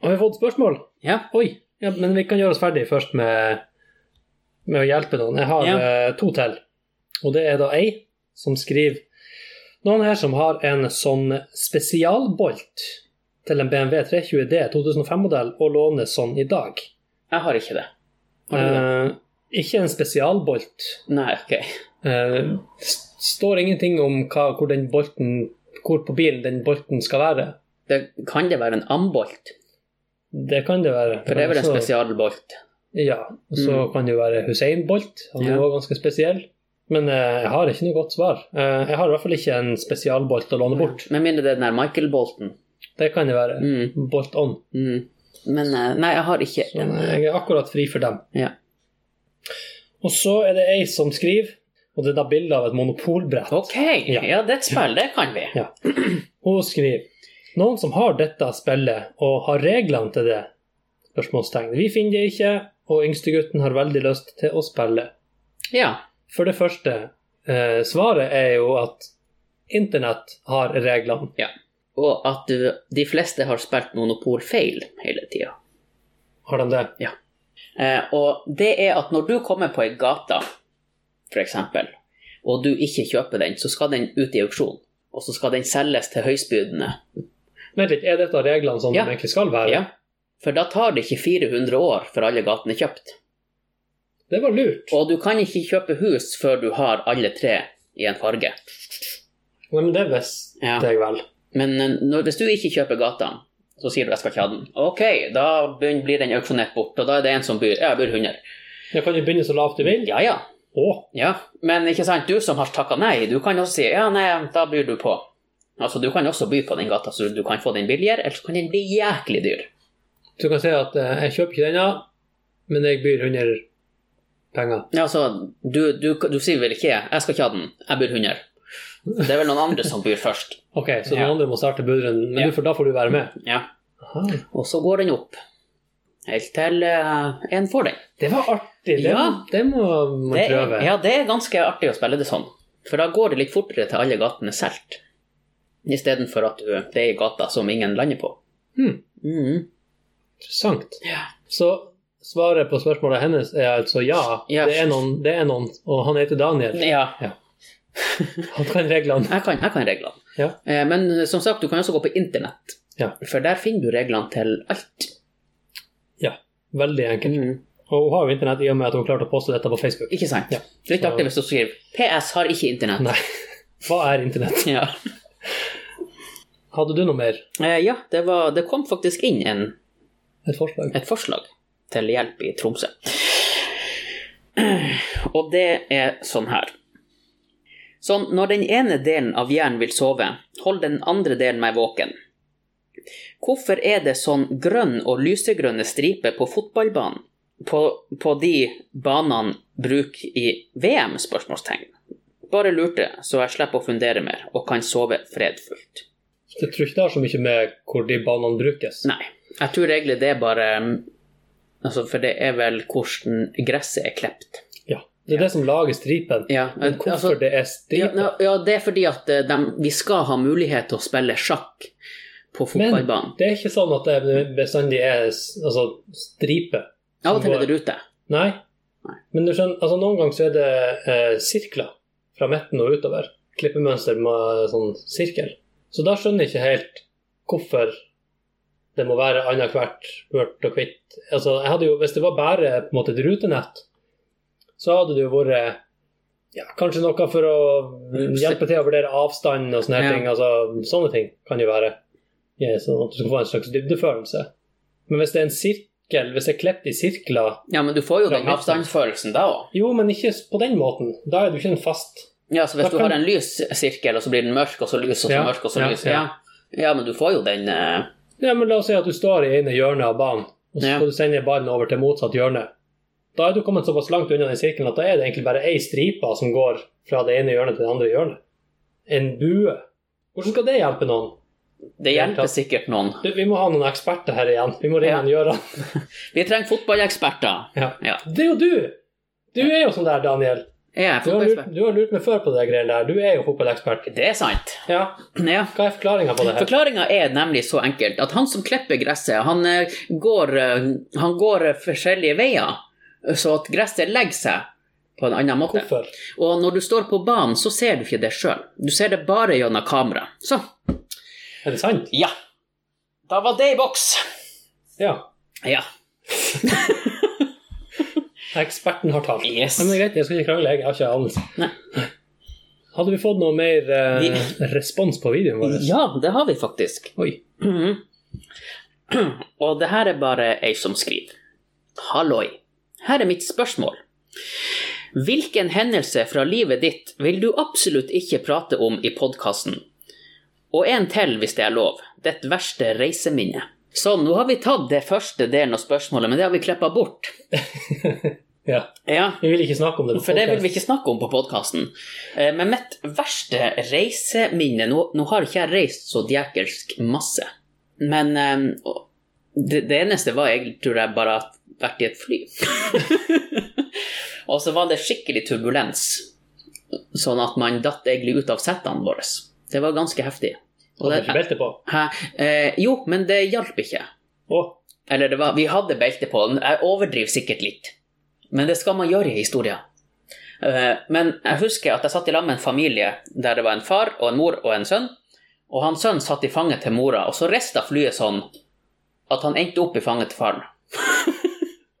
Speaker 1: har vi fått spørsmål?
Speaker 2: Ja.
Speaker 1: Oi. Ja, men vi kan gjøre oss ferdig først med med å hjelpe noen. Jeg har
Speaker 2: Ja.
Speaker 1: eh, to til. Og det er da ei som skriver Noen her som har en sånn spesialbolt til en BMW 320D 2005-modell og låner sånn i dag.
Speaker 2: Jeg har ikke det. Har du det?
Speaker 1: Eh, ikke en spesialbolt.
Speaker 2: Nei, OK.
Speaker 1: Eh, s- står ingenting om hva, hvor den bolten hvor på bilen den bolten skal være.
Speaker 2: Det, kan det være en ambolt?
Speaker 1: Det kan det være.
Speaker 2: For det er vel en
Speaker 1: Også-
Speaker 2: spesialbolt?
Speaker 1: Ja, og så
Speaker 2: Mm.
Speaker 1: kan det jo være Hussein Bolt. Han er
Speaker 2: Ja.
Speaker 1: jo også ganske spesiell. Men eh, jeg har ikke noe godt svar. Eh, jeg har i hvert fall ikke en spesialbolt å låne bort.
Speaker 2: Med mindre det er den der Michael-bolten.
Speaker 1: Det kan det være.
Speaker 2: Mm,
Speaker 1: Bolt on.
Speaker 2: mm. Men eh, nei, jeg har
Speaker 1: Så
Speaker 2: ikke
Speaker 1: jeg er akkurat fri for dem.
Speaker 2: Ja.
Speaker 1: Og så er det ei som skriver, og det er da bilde av et monopolbrett.
Speaker 2: OK!
Speaker 1: Ja.
Speaker 2: Ja, det er et spill. Det kan vi.
Speaker 1: Hun skriver noen som har dette spillet og har reglene til det? Spørsmålstegn. Vi finner det ikke, og yngstegutten har veldig lyst til å spille.
Speaker 2: Ja.
Speaker 1: For det første, eh, svaret er jo at internett har reglene.
Speaker 2: Og at du, de fleste har spilt Monopol feil hele tida.
Speaker 1: Har de det?
Speaker 2: Eh, og det er at når du kommer på ei gate, f.eks., og du ikke kjøper den, så skal den ut i auksjon. Og så skal den selges til høystbydende.
Speaker 1: Vent litt, er dette reglene som
Speaker 2: Ja.
Speaker 1: de egentlig skal være?
Speaker 2: Ja. For da tar det ikke 400 år før alle gatene er kjøpt.
Speaker 1: Det var lurt.
Speaker 2: Og du kan ikke kjøpe hus før du har alle tre i en farge.
Speaker 1: Nei, men det visste
Speaker 2: Ja.
Speaker 1: jeg vel.
Speaker 2: Men eh, når, hvis du ikke kjøper gata, så sier du 'jeg skal ikke ha den'. Ok, da begyn- blir den auksjonert bort, og da er det en som byr. Ja, jeg byr 100.
Speaker 1: Jeg kan jo begynne så lavt du vil.
Speaker 2: Ja, ja.
Speaker 1: Å,
Speaker 2: Ja, men ikke sant, du som har takka nei, du kan også si ja, nei, da byr du på. Altså, du kan også by på den gata, så du kan få den billigere, eller så kan den bli jæklig dyr.
Speaker 1: du kan si at eh, jeg kjøper ikke denne, men jeg byr 100 penger.
Speaker 2: Ja, Altså, du, du, du sier vel ikke 'jeg skal ikke ha den, jeg byr 100'. Det er vel noen andre som byr først.
Speaker 1: Ok, så den
Speaker 2: Ja.
Speaker 1: andre må starte budrunden, men
Speaker 2: Ja.
Speaker 1: du får, da får du være med.
Speaker 2: Ja.
Speaker 1: Aha.
Speaker 2: Og så går den opp. Helt til eh, en får den.
Speaker 1: Det var artig. Det,
Speaker 2: Ja.
Speaker 1: det må man
Speaker 2: Det er,
Speaker 1: prøve.
Speaker 2: ja, det er ganske artig å spille det sånn. For da går det litt fortere til alle gatene er solgt. Istedenfor at du, det er ei gate som ingen lander på.
Speaker 1: Hmm.
Speaker 2: Mhm.
Speaker 1: Interessant.
Speaker 2: Ja.
Speaker 1: Så svaret på spørsmålet hennes er altså ja.
Speaker 2: Ja.
Speaker 1: Det, er noen, det er noen, og han heter Daniel.
Speaker 2: ja.
Speaker 1: Han kan reglene.
Speaker 2: Jeg kan, jeg kan reglene.
Speaker 1: Ja.
Speaker 2: Eh, Men som sagt, du kan også gå på internett.
Speaker 1: Ja.
Speaker 2: For der finner du reglene til alt. Mhm.
Speaker 1: Veldig enkelt. Og hun har jo internett i og med at hun klarte å poste dette på Facebook.
Speaker 2: Ikke sant?
Speaker 1: Ja.
Speaker 2: Litt artig hvis du skriver 'PS har ikke internett'.
Speaker 1: Nei. Hva er internett?
Speaker 2: Ja.
Speaker 1: Hadde du noe mer?
Speaker 2: Eh, ja, det, var, det kom faktisk inn en,
Speaker 1: Et forslag?
Speaker 2: et forslag til hjelp i Tromsø. Og det er sånn her. Sånn, når den ene delen av hjernen vil sove, hold den andre delen meg våken. Hvorfor er det sånn grønn og lysegrønne striper på fotballbanen? På, på de banene bruk i VM? spørsmålstegn. Bare lurte, så jeg slipper å fundere mer og kan sove fredfullt.
Speaker 1: Jeg tror ikke det har så mye med hvor de banene brukes.
Speaker 2: Nei. Jeg tror egentlig det er bare mm, altså, For det er vel hvordan gresset er klept.
Speaker 1: Ja. Det er det som lager stripen.
Speaker 2: Ja,
Speaker 1: Men hvorfor
Speaker 2: altså,
Speaker 1: det er
Speaker 2: ja,
Speaker 1: stripen?
Speaker 2: ja, ja, det er fordi at eh, dem- vi skal ha mulighet til å spille sjakk på
Speaker 1: Men
Speaker 2: fotballbanen.
Speaker 1: det er ikke sånn at det bestandig er s- altså, stripe.
Speaker 2: Av og til er det rute.
Speaker 1: Nei.
Speaker 2: Nei.
Speaker 1: Men du skjønner, altså, noen ganger så er det eh, sirkler fra midten og utover. Klippemønster med sånn sirkel. Så da skjønner jeg ikke helt hvorfor det må være annethvert vørt og kvitt. Altså, jeg hadde jo, hvis det var bare på en måte et rutenett, så hadde det jo vært ja, kanskje noe for å hjelpe til å vurdere avstand og sånne her
Speaker 2: Ja.
Speaker 1: ting. Altså, sånne ting kan jo være. Ja, sånn at du skal få en slags dybdefølelse. Men hvis det er en sirkel, hvis det er klept i sirkler
Speaker 2: Ja, men du får jo
Speaker 1: Fra
Speaker 2: den
Speaker 1: midten.
Speaker 2: avstandsfølelsen da òg.
Speaker 1: jo, men ikke på den måten. Da er du ikke en fast
Speaker 2: Ja, så hvis
Speaker 1: Da
Speaker 2: du
Speaker 1: kan-
Speaker 2: har en lys sirkel, og så blir den mørk, og så lys, og så
Speaker 1: Ja,
Speaker 2: mørk, og så
Speaker 1: ja,
Speaker 2: lys.
Speaker 1: ja.
Speaker 2: Ja. ja, men du får jo den eh,
Speaker 1: Ja, men La oss si at du står i ene hjørnet av banen, og så
Speaker 2: Ja.
Speaker 1: skal du sende ballen over til motsatt hjørne. Da er du kommet såpass langt unna den sirkelen at da er det egentlig bare ei stripe som går fra det ene hjørnet til det andre hjørnet. En bue. Hvordan skal det hjelpe noen?
Speaker 2: Det hjelper sikkert noen.
Speaker 1: Du, vi må ha noen eksperter her igjen. Vi må ringe ja.
Speaker 2: Ja.
Speaker 1: Gøran.
Speaker 2: Vi trenger fotballeksperter.
Speaker 1: Ja.
Speaker 2: Ja.
Speaker 1: Det er jo du! Du er jo sånn der, Daniel.
Speaker 2: Jeg er
Speaker 1: Du har lurt,
Speaker 2: fotballekspert.
Speaker 1: du har lurt meg før på de greiene der. Du er jo fotballekspert.
Speaker 2: Det er sant.
Speaker 1: Ja.
Speaker 2: Ja.
Speaker 1: Hva er forklaringa på det her?
Speaker 2: Forklaringa er nemlig så enkelt at han som klipper gresset, han eh, går, eh, han går eh, forskjellige veier. Så at gresset legger seg på en annen måte.
Speaker 1: Hvorfor?
Speaker 2: Og når du står på banen, så ser du ikke det sjøl. Du ser det bare gjennom kamera. Så.
Speaker 1: Er det sant?
Speaker 2: Ja. Da var det i boks.
Speaker 1: Ja.
Speaker 2: Ja.
Speaker 1: Eksperten har talt.
Speaker 2: Yes.
Speaker 1: Men det er greit, jeg skal ikke krangle, jeg har ikke anelse.
Speaker 2: Nei.
Speaker 1: Hadde vi fått noe mer eh, respons på videoen vår?
Speaker 2: Ja, det har vi faktisk.
Speaker 1: Oi.
Speaker 2: Mhm. Og det her er bare ei som skriver. Halloi. Her er mitt spørsmål. Hvilken hendelse fra livet ditt vil du absolutt ikke prate om i podkasten? Og en til, hvis det er lov. Ditt verste reiseminne. Sånn, nå har vi tatt det første delen av spørsmålet, men det har vi klippa bort.
Speaker 1: Ja.
Speaker 2: Ja,
Speaker 1: Vi vil ikke snakke om det. på
Speaker 2: for det vil
Speaker 1: podcast.
Speaker 2: vi ikke snakke om på podkasten. Men mitt verste reiseminne Nå, nå har ikke jeg reist så djekelsk masse, men eh, og det, det eneste var egentlig, tror jeg, bare at vært i et fly. og så var det skikkelig turbulens, sånn at man datt egentlig ut av settene våre. Det var ganske heftig. Og
Speaker 1: Hadde
Speaker 2: det,
Speaker 1: ikke belte på.
Speaker 2: hæ? Eh, jo, men det hjalp ikke.
Speaker 1: Å,
Speaker 2: Eller det var, vi hadde belte på, jeg overdriver sikkert litt. Men det skal man gjøre i historien. Eh, Men jeg husker at jeg satt i lag med en familie der det var en far og en mor og en sønn. Og han sønnen satt i fanget til mora, og så rista flyet sånn at han endte opp i fanget til faren.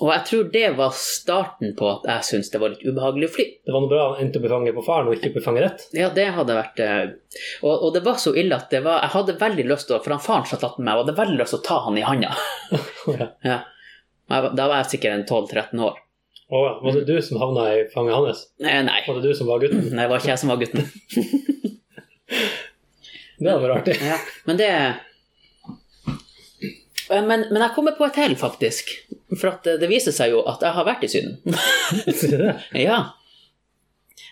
Speaker 2: og jeg tror det var starten på at jeg syntes det var litt ubehagelig å fly.
Speaker 1: det var noe bra han endte opp i fanget på faren, og ikke opp i fanget rett.
Speaker 2: Ja, det hadde vært eh, og, og det var så ille at det var, jeg hadde veldig lyst til å For han faren satt attmed meg, og jeg hadde veldig lyst til å ta han i handa.
Speaker 1: Ja.
Speaker 2: Ja. Jeg var- Da var jeg sikkert en 12-13 år.
Speaker 1: Å, ja. var det du som havna i fanget hans?
Speaker 2: Eh, Nei,
Speaker 1: Var det du som var gutten?
Speaker 2: det var ikke jeg som var gutten.
Speaker 1: Det hadde vært artig.
Speaker 2: Ja. Men det Eh, men, men jeg kommer på et til, faktisk. For at eh, det viser seg jo at jeg har vært i Syden.
Speaker 1: Sier du det?
Speaker 2: Ja.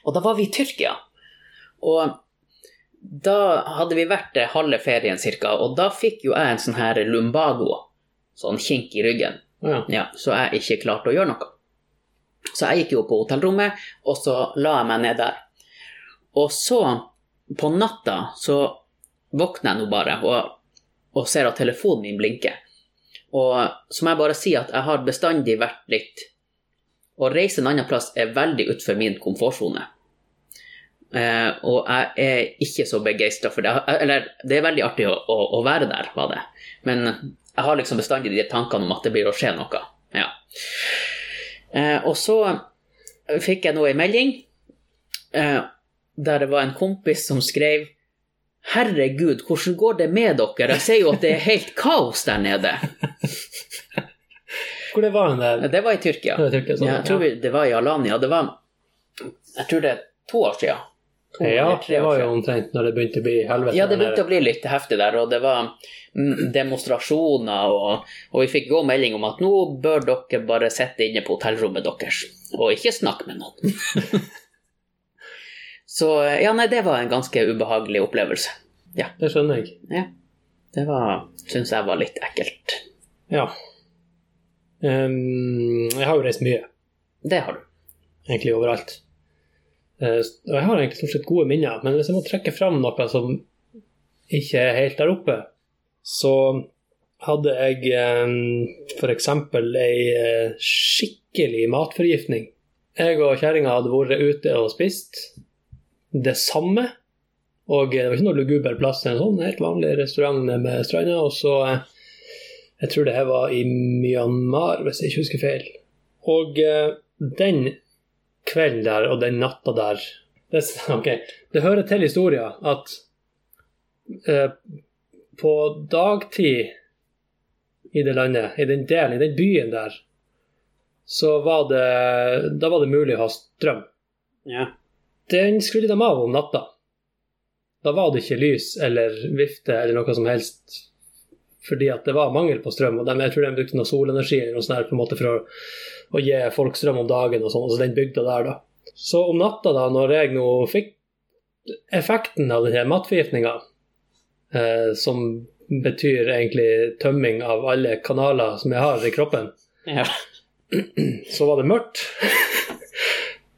Speaker 2: Og da var vi i Tyrkia. Og da hadde vi vært eh, halve ferien cirka, og da fikk jo jeg en sånn her lumbago, sånn kink i ryggen.
Speaker 1: Å, ja.
Speaker 2: Ja, så jeg ikke klarte å gjøre noe. Så jeg gikk jo på hotellrommet, og så la jeg meg ned der. Og så, på natta, så våkner jeg nå bare og, og ser at telefonen min blinker. Og så må jeg bare si at jeg har bestandig vært litt Å reise en annen plass er veldig utenfor min komfortsone. Eh, og jeg er ikke så begeistra for det. Eller, det er veldig artig å, å, å være der, var det. Men jeg har liksom bestandig de tankene om at det blir å skje noe. Ja. Eh, og så fikk jeg nå en melding eh, der det var en kompis som skrev Herregud, hvordan går det med dere? Jeg ser jo at det er helt kaos der nede.
Speaker 1: Hvor det var han der?
Speaker 2: Det var i Tyrkia.
Speaker 1: Det var i Tyrkia, sånn,
Speaker 2: ja, jeg tror vi, det var i Alanya. Det var Jeg tror det er to år siden. To
Speaker 1: Ja,
Speaker 2: eller tre
Speaker 1: det
Speaker 2: år
Speaker 1: var
Speaker 2: siden.
Speaker 1: jo omtrent når det begynte å bli helvete.
Speaker 2: Ja, det
Speaker 1: der
Speaker 2: begynte
Speaker 1: nede.
Speaker 2: å bli litt heftig der, og det var mm, demonstrasjoner, og, og vi fikk gå melding om at nå bør dere bare sitte inne på hotellrommet deres, og ikke snakke med noen. Så ja, nei, det var en ganske ubehagelig opplevelse.
Speaker 1: Det skjønner jeg.
Speaker 2: Ja. Det var, syns jeg var litt ekkelt.
Speaker 1: Ja. Ehm, jeg har jo reist mye,
Speaker 2: Det har du.
Speaker 1: egentlig overalt. Eh, og jeg har egentlig stort sett gode minner, men hvis jeg må trekke fram noe som ikke er helt der oppe, så hadde jeg eh, for eksempel ei eh, skikkelig matforgiftning. Jeg og kjerringa hadde vært ute og spist det samme, og eh, det var ikke noe luguber plass til en sånn helt vanlig restaurant nede med stranda, og så eh, Jeg tror det her var i Myanmar, hvis jeg ikke husker feil. Og eh, den kvelden der og den natta der det, ok, det hører til historien at eh, på dagtid i det landet, i den delen, i den byen der, så var det Da var det mulig å ha strøm.
Speaker 2: Ja.
Speaker 1: Den skrudde de av om natta. Da var det ikke lys eller vifte eller noe som helst fordi at det var mangel på strøm. og de, Jeg tror de brukte noe solenergi eller noe sånt her, på en måte for å, å gi folk strøm om dagen og sånn. Altså den bygda der, da. Så om natta, da, når jeg nå fikk effekten av denne matforgiftninga, eh, som betyr egentlig tømming av alle kanaler som jeg har i kroppen,
Speaker 2: Ja.
Speaker 1: så var det mørkt.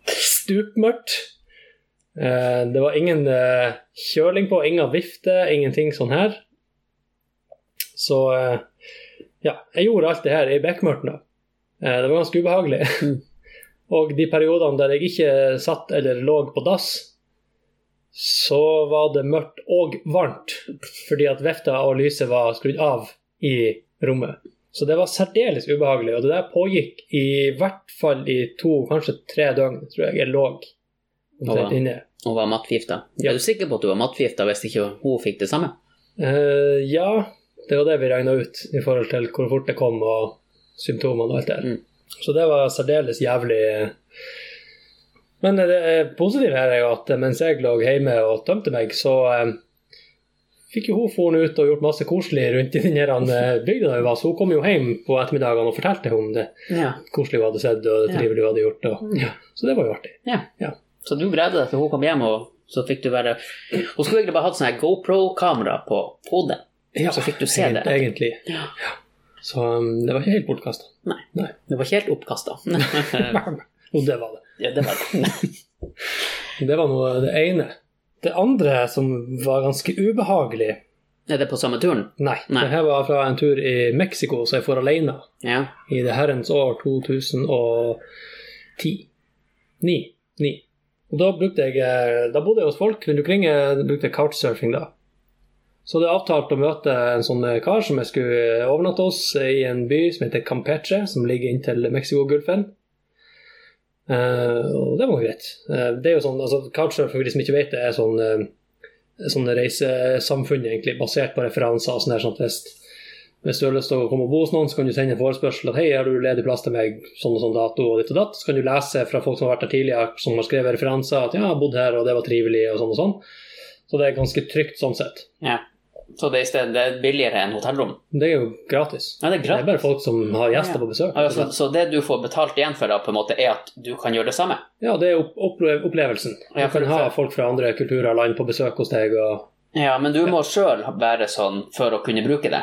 Speaker 1: Stupmørkt. Eh, Det var ingen eh, kjøling på, ingen vifte, ingenting sånn her. Så eh, ja, jeg gjorde alt det her i bekmørket. da. Eh, Det var ganske ubehagelig.
Speaker 2: Mm.
Speaker 1: Og de periodene der jeg ikke satt eller lå på dass, så var det mørkt og varmt, fordi at vefta og lyset var skrudd av i rommet. Så det var særdeles ubehagelig, og det der pågikk i hvert fall i to, kanskje tre døgn, tror jeg jeg lå
Speaker 2: Å,
Speaker 1: omtrent
Speaker 2: ja.
Speaker 1: inne.
Speaker 2: Og var mattforgifta.
Speaker 1: Ja.
Speaker 2: Er du sikker på at du var mattforgifta hvis ikke hun fikk det samme?
Speaker 1: Eh, ja, det var det vi regna ut i forhold til hvor fort det kom og symptomene og alt det der.
Speaker 2: Mm.
Speaker 1: Så det var særdeles jævlig. Men det eh, positive her er jo at mens jeg lå hjemme og tømte meg, så eh, fikk jo hun foren ut og gjort masse koselig rundt i den her eh, bygda der hun var. Så hun kom jo hjem på ettermiddagene og fortalte om det
Speaker 2: Ja.
Speaker 1: koselige hun hadde sett og det
Speaker 2: Ja.
Speaker 1: trivelige hun hadde gjort. Og, ja. Så det var jo artig.
Speaker 2: Så du greide deg til hun kom hjem, og så fikk du være Hun skulle egentlig bare hatt sånn her GoPro-kamera på hodet. Så fikk du se det.
Speaker 1: Egent- Egentlig.
Speaker 2: Ja.
Speaker 1: Så um, det var ikke helt bortkasta.
Speaker 2: Det var ikke helt oppkasta. ja,
Speaker 1: Jo, det var det.
Speaker 2: det var det.
Speaker 1: Det var noe det ene. Det andre som var ganske ubehagelig
Speaker 2: Er det på samme turen?
Speaker 1: Nei,
Speaker 2: Nei.
Speaker 1: det her var fra en tur i Mexico, så jeg for alene.
Speaker 2: Ja.
Speaker 1: I det herrens år 2010. Ni. Ni. Og da brukte jeg eh, Da bodde jeg hos folk rundt omkring. Jeg brukte couchsurfing da. Så det er avtalt å møte en sånn eh, kar som jeg skulle overnatte hos eh, i en by som heter Campeche, som ligger inntil Mexicogolfen. Eh, og det var greit. Eh, det er jo sånn, altså Couchsurfing, for de som ikke vet det, er sånn uh, sånn reisesamfunn egentlig, basert på referanser. og sånn der, sånn at hvis, hvis du har lyst til å komme og bo hos noen, så kan du sende en forespørsel at hei, har du ledig plass til meg sånn og sånn dato og ditt og datt. Så kan du lese fra folk som har vært der tidligere, som har skrevet referanser at ja, jeg har bodd her, og det var trivelig, og sånn og sånn. Så det er ganske trygt sånn sett.
Speaker 2: ja. Så det er, i stedet, det er billigere enn hotellrom?
Speaker 1: Det er jo gratis.
Speaker 2: Ja,
Speaker 1: Det
Speaker 2: det er Altså,
Speaker 1: er
Speaker 2: gratis.
Speaker 1: bare folk som har gjester
Speaker 2: Ja.
Speaker 1: på besøk.
Speaker 2: Ja, så, så det du får betalt igjen for, da, på en måte, er at du kan gjøre det samme?
Speaker 1: Ja, det er opp opple- opplevelsen.
Speaker 2: Ja,
Speaker 1: Du
Speaker 2: for-
Speaker 1: kan ha folk fra andre kulturer og land på besøk hos deg og
Speaker 2: Ja, men du må sjøl være sånn for å kunne bruke det?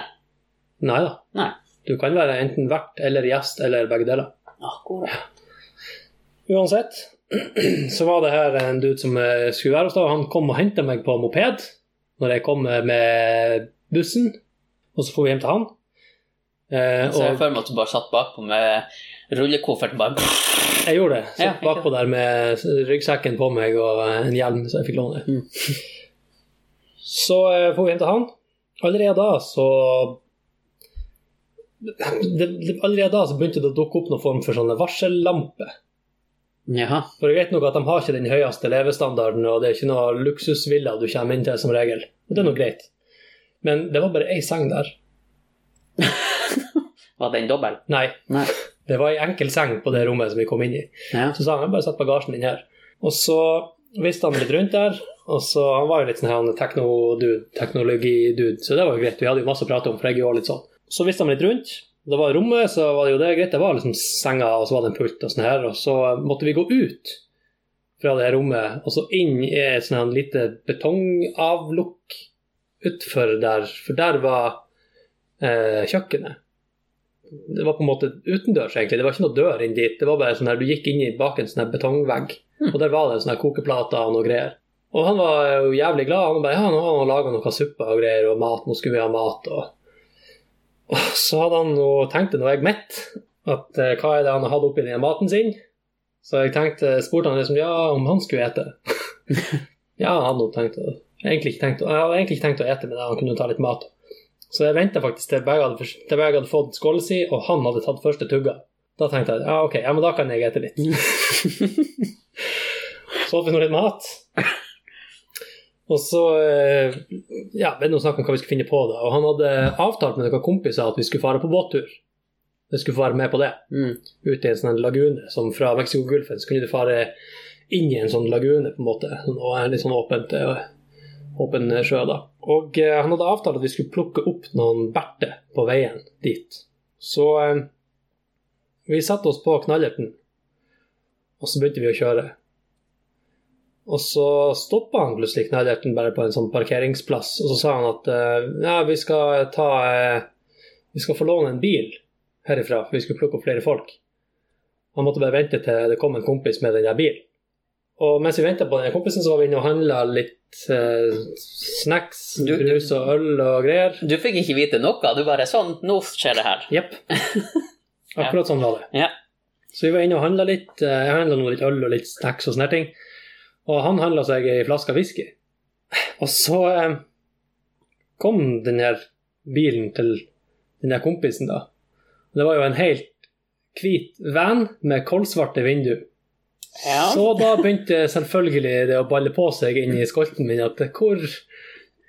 Speaker 1: Nei da.
Speaker 2: Nei.
Speaker 1: Du kan være enten vert eller gjest eller begge deler.
Speaker 2: Akkurat.
Speaker 1: Uansett så var det her en dude som eh, skulle være hos deg, og han kom og henta meg på moped når jeg kom eh, med bussen, og så får vi hjem til han. Eh,
Speaker 2: Så jeg
Speaker 1: og
Speaker 2: føler meg at du bare satt bakpå med rullekoffert bare
Speaker 1: jeg gjorde det.
Speaker 2: Ja,
Speaker 1: Satt
Speaker 2: ikke
Speaker 1: bakpå der med ryggsekken på meg og eh, en hjelm som jeg fikk låne.
Speaker 2: Mm.
Speaker 1: Så eh, får vi hjem til han. Allerede da så det, det, Allerede da så begynte det å dukke opp noen form for sånne varsellamper.
Speaker 2: Jaha.
Speaker 1: For det er greit nok at de har ikke den høyeste levestandarden, og det er ikke noe luksusvilla du kommer inn til som regel. Og det er nå greit. Men det var bare ei seng der.
Speaker 2: Var den dobbel?
Speaker 1: Nei,
Speaker 2: Nei.
Speaker 1: det var ei enkel seng på det rommet som vi kom inn i.
Speaker 2: Ja.
Speaker 1: Så sa han, jeg bare sett bagasjen din her. Og så viste han litt rundt der, og så han var jo litt sånn her han tekno-dude, teknologi-dude, så det var jo greit. Vi hadde jo masse å prate om, for jeg er jo også litt sånn. Så viste han litt rundt. Da var rommet, så var det jo det greit. Det var liksom senga, og så var det en pult og sånn her, og så måtte vi gå ut fra det her rommet, og så inn i et sånn her lite betongavlukk utfor der, for der var eh, kjøkkenet det var på en måte utendørs, egentlig. Det var ikke noe dør inn dit. Det var bare sånn her, Du gikk inn i bak en sånn her betongvegg,
Speaker 2: Hmm.
Speaker 1: og der var det en sånn her kokeplater og noe greier. Og han var jo jævlig glad. Han bare ja, nå har han laga noe suppe og greier, og mat, nå skulle vi ha mat, og Og så hadde han jo tenkt det når jeg mett, at eh, hva er det han har hatt oppi den maten sin? Så jeg tenkte, spurte han liksom ja, om han skulle ete. ja, han hadde nok tenkt å egentlig ikke tenkt, å- Jeg hadde egentlig ikke tenkt å ete, men han kunne jo ta litt mat. Så jeg venta faktisk til begge hadde, til begge hadde fått skåla si, og han hadde tatt første tugga. Da tenkte jeg ja, ok, ja, men da kan jeg ete litt. så åt vi nå litt mat. Og så eh, ja, ble det noe snakk om hva vi skulle finne på. da. Og han hadde avtalt med noen kompiser at vi skulle fare på båttur. Vi skulle få være med på det.
Speaker 2: Mm.
Speaker 1: Ute i en sånn lagune. Som fra Mexicogolfen så kunne du fare inn i en sånn lagune, på en måte. Og en litt sånn åpent, eh, åpen sjø, da. Og eh, han hadde avtalt at vi skulle plukke opp noen berter på veien dit. Så eh, vi satte oss på knallerten, og så begynte vi å kjøre. Og så stoppa han plutselig knallerten bare på en sånn parkeringsplass, og så sa han at eh, ja, vi skal ta eh, Vi skal få låne en bil herifra, for vi skulle plukke opp flere folk. Han måtte bare vente til det kom en kompis med den der bilen. Og mens vi venta på den kompisen, så var vi inne og handla litt eh, snacks,
Speaker 2: Du- du-
Speaker 1: brus og øl og greier.
Speaker 2: Du fikk ikke vite noe, du bare sånn, nå skjer det her.
Speaker 1: Jepp. Akkurat sånn var det.
Speaker 2: Ja.
Speaker 1: Så vi var inne og handla litt. eh, Jeg handla nå litt øl og litt snacks og sånne ting. Og han handla seg ei flaske whisky. Og så eh, kom den her bilen til den der kompisen, da. Det var jo en helt hvit van med kolsvarte vinduer.
Speaker 2: Ja.
Speaker 1: Så da begynte selvfølgelig det å balle på seg inn i skolten min at hvor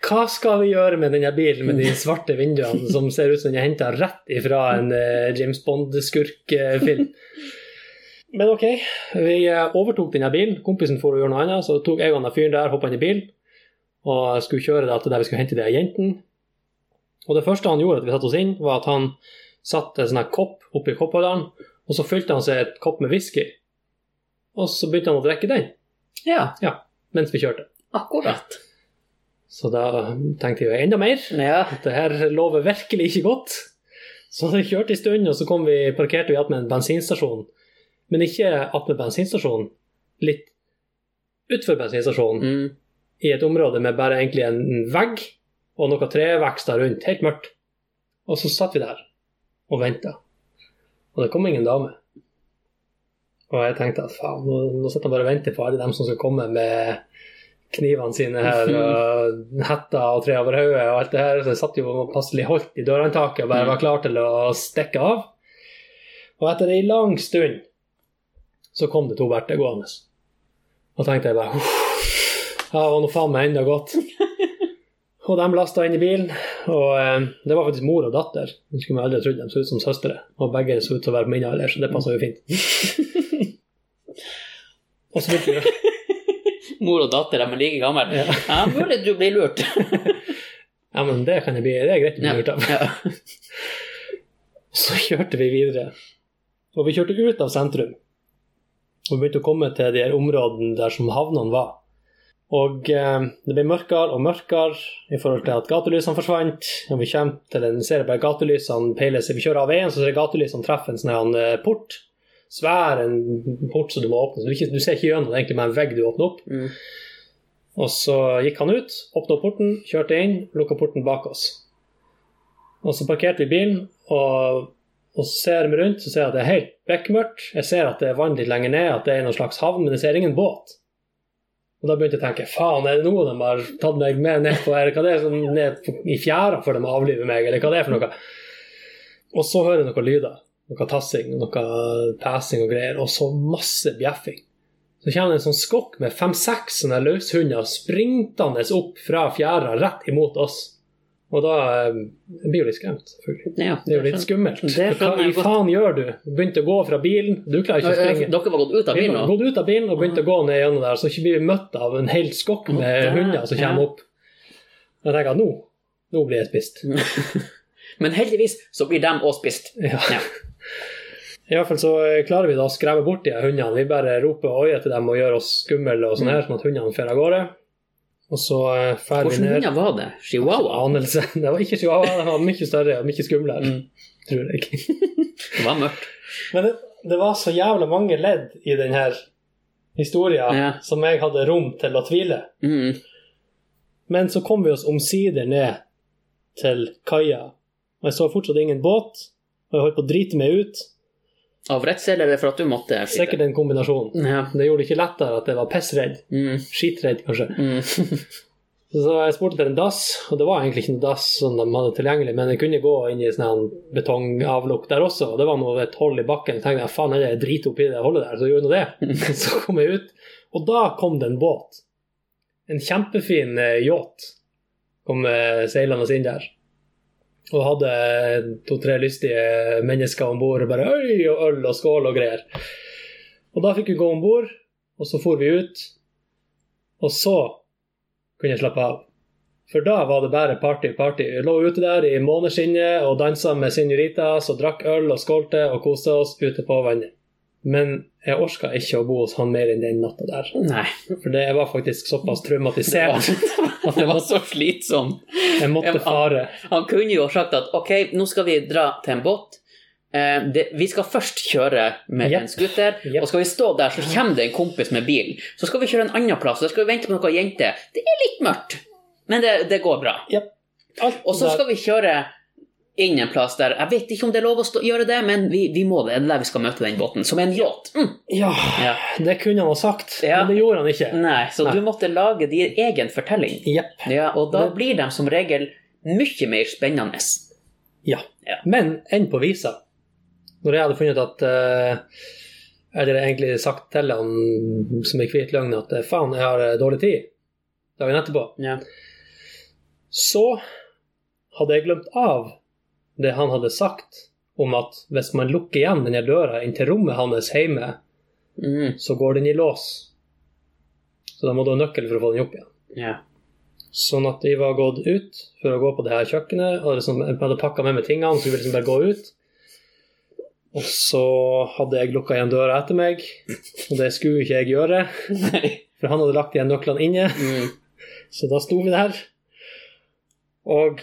Speaker 1: Hva skal vi gjøre med denne bilen med de svarte vinduene som ser ut som den er henta rett ifra en eh, James Bond-skurkfilm? Men OK, vi eh, overtok denne bilen. Kompisen for å gjøre noe annet, så tok jeg og den fyren der, hoppa inn i bilen og skulle kjøre det til der vi skulle hente de her jentene. Og det første han gjorde, at vi satte oss inn, var at han satte en sånn her kopp oppi koppholderen, og så fylte han seg et kopp med whisky. Og så begynte han å drikke den
Speaker 2: ja,
Speaker 1: mens vi kjørte.
Speaker 2: akkurat.
Speaker 1: Så da tenkte jeg jo enda mer.
Speaker 2: Ja.
Speaker 1: Det her lover virkelig ikke godt. Så vi kjørte en stund, og så kom vi, parkerte vi attmed en bensinstasjon. Men ikke attmed bensinstasjonen, litt utfor bensinstasjonen.
Speaker 2: Mm.
Speaker 1: i et område med bare egentlig en vegg og noen trevekster rundt, helt mørkt. Og så satt vi der og venta, og det kom ingen dame. Og jeg tenkte at faen, nå, nå sitter han bare og venter på alle dem som skal komme med knivene sine her, og Eh, hetta og tre over hodet og alt det her. Så jeg satt jo passelig holdt i dørhåndtaket og bare var klar til å stikke av. Og etter ei lang stund så kom det to berter gående. Og tenkte jeg bare ja, det var nå faen meg enda godt. Og de lasta inn i bilen. Og eh, det var faktisk mor og datter. Jeg skulle aldri trodd de så ut som søstre. Og begge så ut til å være på min alder, så det passa jo fint. og så begynte vi,
Speaker 2: Mor og datter de er like gamle.
Speaker 1: Ja.
Speaker 2: Ja, mulig du blir lurt.
Speaker 1: Ja, men det kan jeg bli, det er greit å bli
Speaker 2: Ja.
Speaker 1: lurt av.
Speaker 2: Ja.
Speaker 1: Så kjørte vi videre. Og vi kjørte ut av sentrum. Og vi begynte å komme til de her områdene der som havnene var. Og eh, det ble mørkere og mørkere i forhold til at gatelysene forsvant. Og vi kommer til en ser bare gatelysene peiler seg. Vi kjører av veien, så ser jeg gatelysene treffer en sånn her, eh, port. Svær en port som du må åpne. Så du, ikke, du ser ikke gjennom det er egentlig med en vegg du åpner opp.
Speaker 2: Mm.
Speaker 1: Og så gikk han ut, åpna porten, kjørte inn, lukka porten bak oss. Og så parkerte vi bilen, og, og så ser vi rundt, så ser jeg at det er helt bekmørkt. Jeg ser at det er vann litt lenger ned, at det er noen slags havn, men jeg ser ingen båt. Og da begynte jeg å tenke, faen, er det noe de har tatt meg med ned på, eller hva det er som ned på- i fjæra for de avliver meg, eller hva det er for noe? Og så hører jeg noen lyder, noe tassing, noe pesing og greier, og så masse bjeffing. Så kommer det en sånn skokk med fem-seks sånne løshunder sprintende opp fra fjæra rett imot oss. Og da eh, jeg blir jo litt skremt. selvfølgelig.
Speaker 2: Ja,
Speaker 1: Det er jo litt skummelt.
Speaker 2: Det skjønner
Speaker 1: Hva i
Speaker 2: jeg godt.
Speaker 1: faen gjør du? Begynte å gå fra bilen, du klarer ikke å
Speaker 2: eh, Dere
Speaker 1: springe.
Speaker 2: var gått ut av
Speaker 1: Vi
Speaker 2: bilen
Speaker 1: har
Speaker 2: nå?
Speaker 1: gått ut av bilen og begynte å gå ned gjennom der, så ikke blir vi møtt av en hel skokk med
Speaker 2: Ja.
Speaker 1: hunder som
Speaker 2: Ja.
Speaker 1: kommer opp. Da tenker jeg nå, nå blir jeg spist.
Speaker 2: Men heldigvis så blir de også spist.
Speaker 1: Ja.
Speaker 2: Ja.
Speaker 1: I hvert fall så eh, klarer vi da å skremme bort de her hundene. Vi bare roper og øyer til dem og gjør oss skumle og sånn her, sånn at hundene fer av gårde. Og så eh, fer vi
Speaker 2: Mm. Hvordan
Speaker 1: ned.
Speaker 2: hunder var det? Chihuahua?
Speaker 1: Anelse. Det var ikke chihuahua, den var mye større og mye skumlere,
Speaker 2: Mm.
Speaker 1: tror jeg.
Speaker 2: Det var mørkt.
Speaker 1: Men det, det var så jævla mange ledd i den her historien
Speaker 2: Ja.
Speaker 1: som jeg hadde rom til å tvile.
Speaker 2: Mm.
Speaker 1: Men så kom vi oss omsider ned til kaia, og jeg så fortsatt ingen båt, og jeg holdt på å drite meg ut.
Speaker 2: Av redsel eller for at du måtte? sitte?
Speaker 1: Sikkert en kombinasjon.
Speaker 2: Ja.
Speaker 1: Det gjorde det ikke lettere at jeg var pissredd.
Speaker 2: Mm.
Speaker 1: Skitredd, kanskje.
Speaker 2: Mm.
Speaker 1: Så jeg spurte etter en dass, og det var egentlig ikke noen dass som de hadde tilgjengelig, men jeg kunne gå inn i sånn her betongavlukk der også, og det var noe et hull i bakken. Så tenkte jeg faen, jeg driter oppi det hullet der, så gjorde jeg nå det. Så kom jeg ut, og da kom det en båt. En kjempefin eh, yacht kom eh, seilende inn der. Og hadde eh, to-tre lystige mennesker om bord, bare øy og øl og skål og greier. Og da fikk vi gå om bord, og så for vi ut. Og så kunne jeg slappe av. For da var det bare party, party. Vi lå ute der i måneskinnet og dansa med senoritas og drakk øl og skålte og koste oss ute på vannet. Men jeg orka ikke å bo hos han mer enn den natta der.
Speaker 2: Nei.
Speaker 1: For det jeg var faktisk såpass
Speaker 2: Det var,
Speaker 1: traumatisert at
Speaker 2: det
Speaker 1: jeg,
Speaker 2: var
Speaker 1: måtte,
Speaker 2: så slitsomt.
Speaker 1: jeg måtte fare.
Speaker 2: Han kunne jo ha sagt at ok, nå skal vi dra til en båt. Eh, det, vi skal først kjøre med
Speaker 1: Jepp.
Speaker 2: en scooter,
Speaker 1: Jepp.
Speaker 2: og skal vi stå der, så kommer det en kompis med bil. Så skal vi kjøre en annen plass, og så skal vi vente på noen jenter. Det er litt mørkt, men det, det går bra.
Speaker 1: Alt
Speaker 2: Og så
Speaker 1: der-
Speaker 2: skal vi kjøre inn en plass der Jeg vet ikke om det er lov å stå, gjøre det, men vi, vi må det. Det er der vi skal møte den båten. Som en yacht. Mm.
Speaker 1: Ja,
Speaker 2: Ja.
Speaker 1: det kunne han ha sagt,
Speaker 2: Ja.
Speaker 1: men det gjorde han ikke.
Speaker 2: Nei, så
Speaker 1: Nei.
Speaker 2: du måtte lage din egen fortelling.
Speaker 1: Jepp.
Speaker 2: Ja, og da
Speaker 1: Det-
Speaker 2: blir de som regel mye mer spennende.
Speaker 1: Ja.
Speaker 2: Ja.
Speaker 1: Men enn på visa. Når jeg hadde funnet at eh, Eller egentlig sagt til han som en hvit løgn at eh, faen, jeg har eh, dårlig tid dagen etterpå,
Speaker 2: Ja.
Speaker 1: så hadde jeg glemt av det han hadde sagt om at hvis man lukker igjen denne døra inn til rommet hans hjemme,
Speaker 2: Mm.
Speaker 1: så går den i lås. Så da må du ha nøkkel for å få den opp igjen.
Speaker 2: ja.
Speaker 1: Sånn at vi var gått ut for å gå på det her kjøkkenet, og liksom, jeg hadde pakka med meg tingene, så vi ville liksom bare gå ut. Og så hadde jeg lukka igjen døra etter meg, og det skulle ikke jeg gjøre, for han hadde lagt igjen nøklene inne,
Speaker 2: Mm.
Speaker 1: så da sto vi der. Og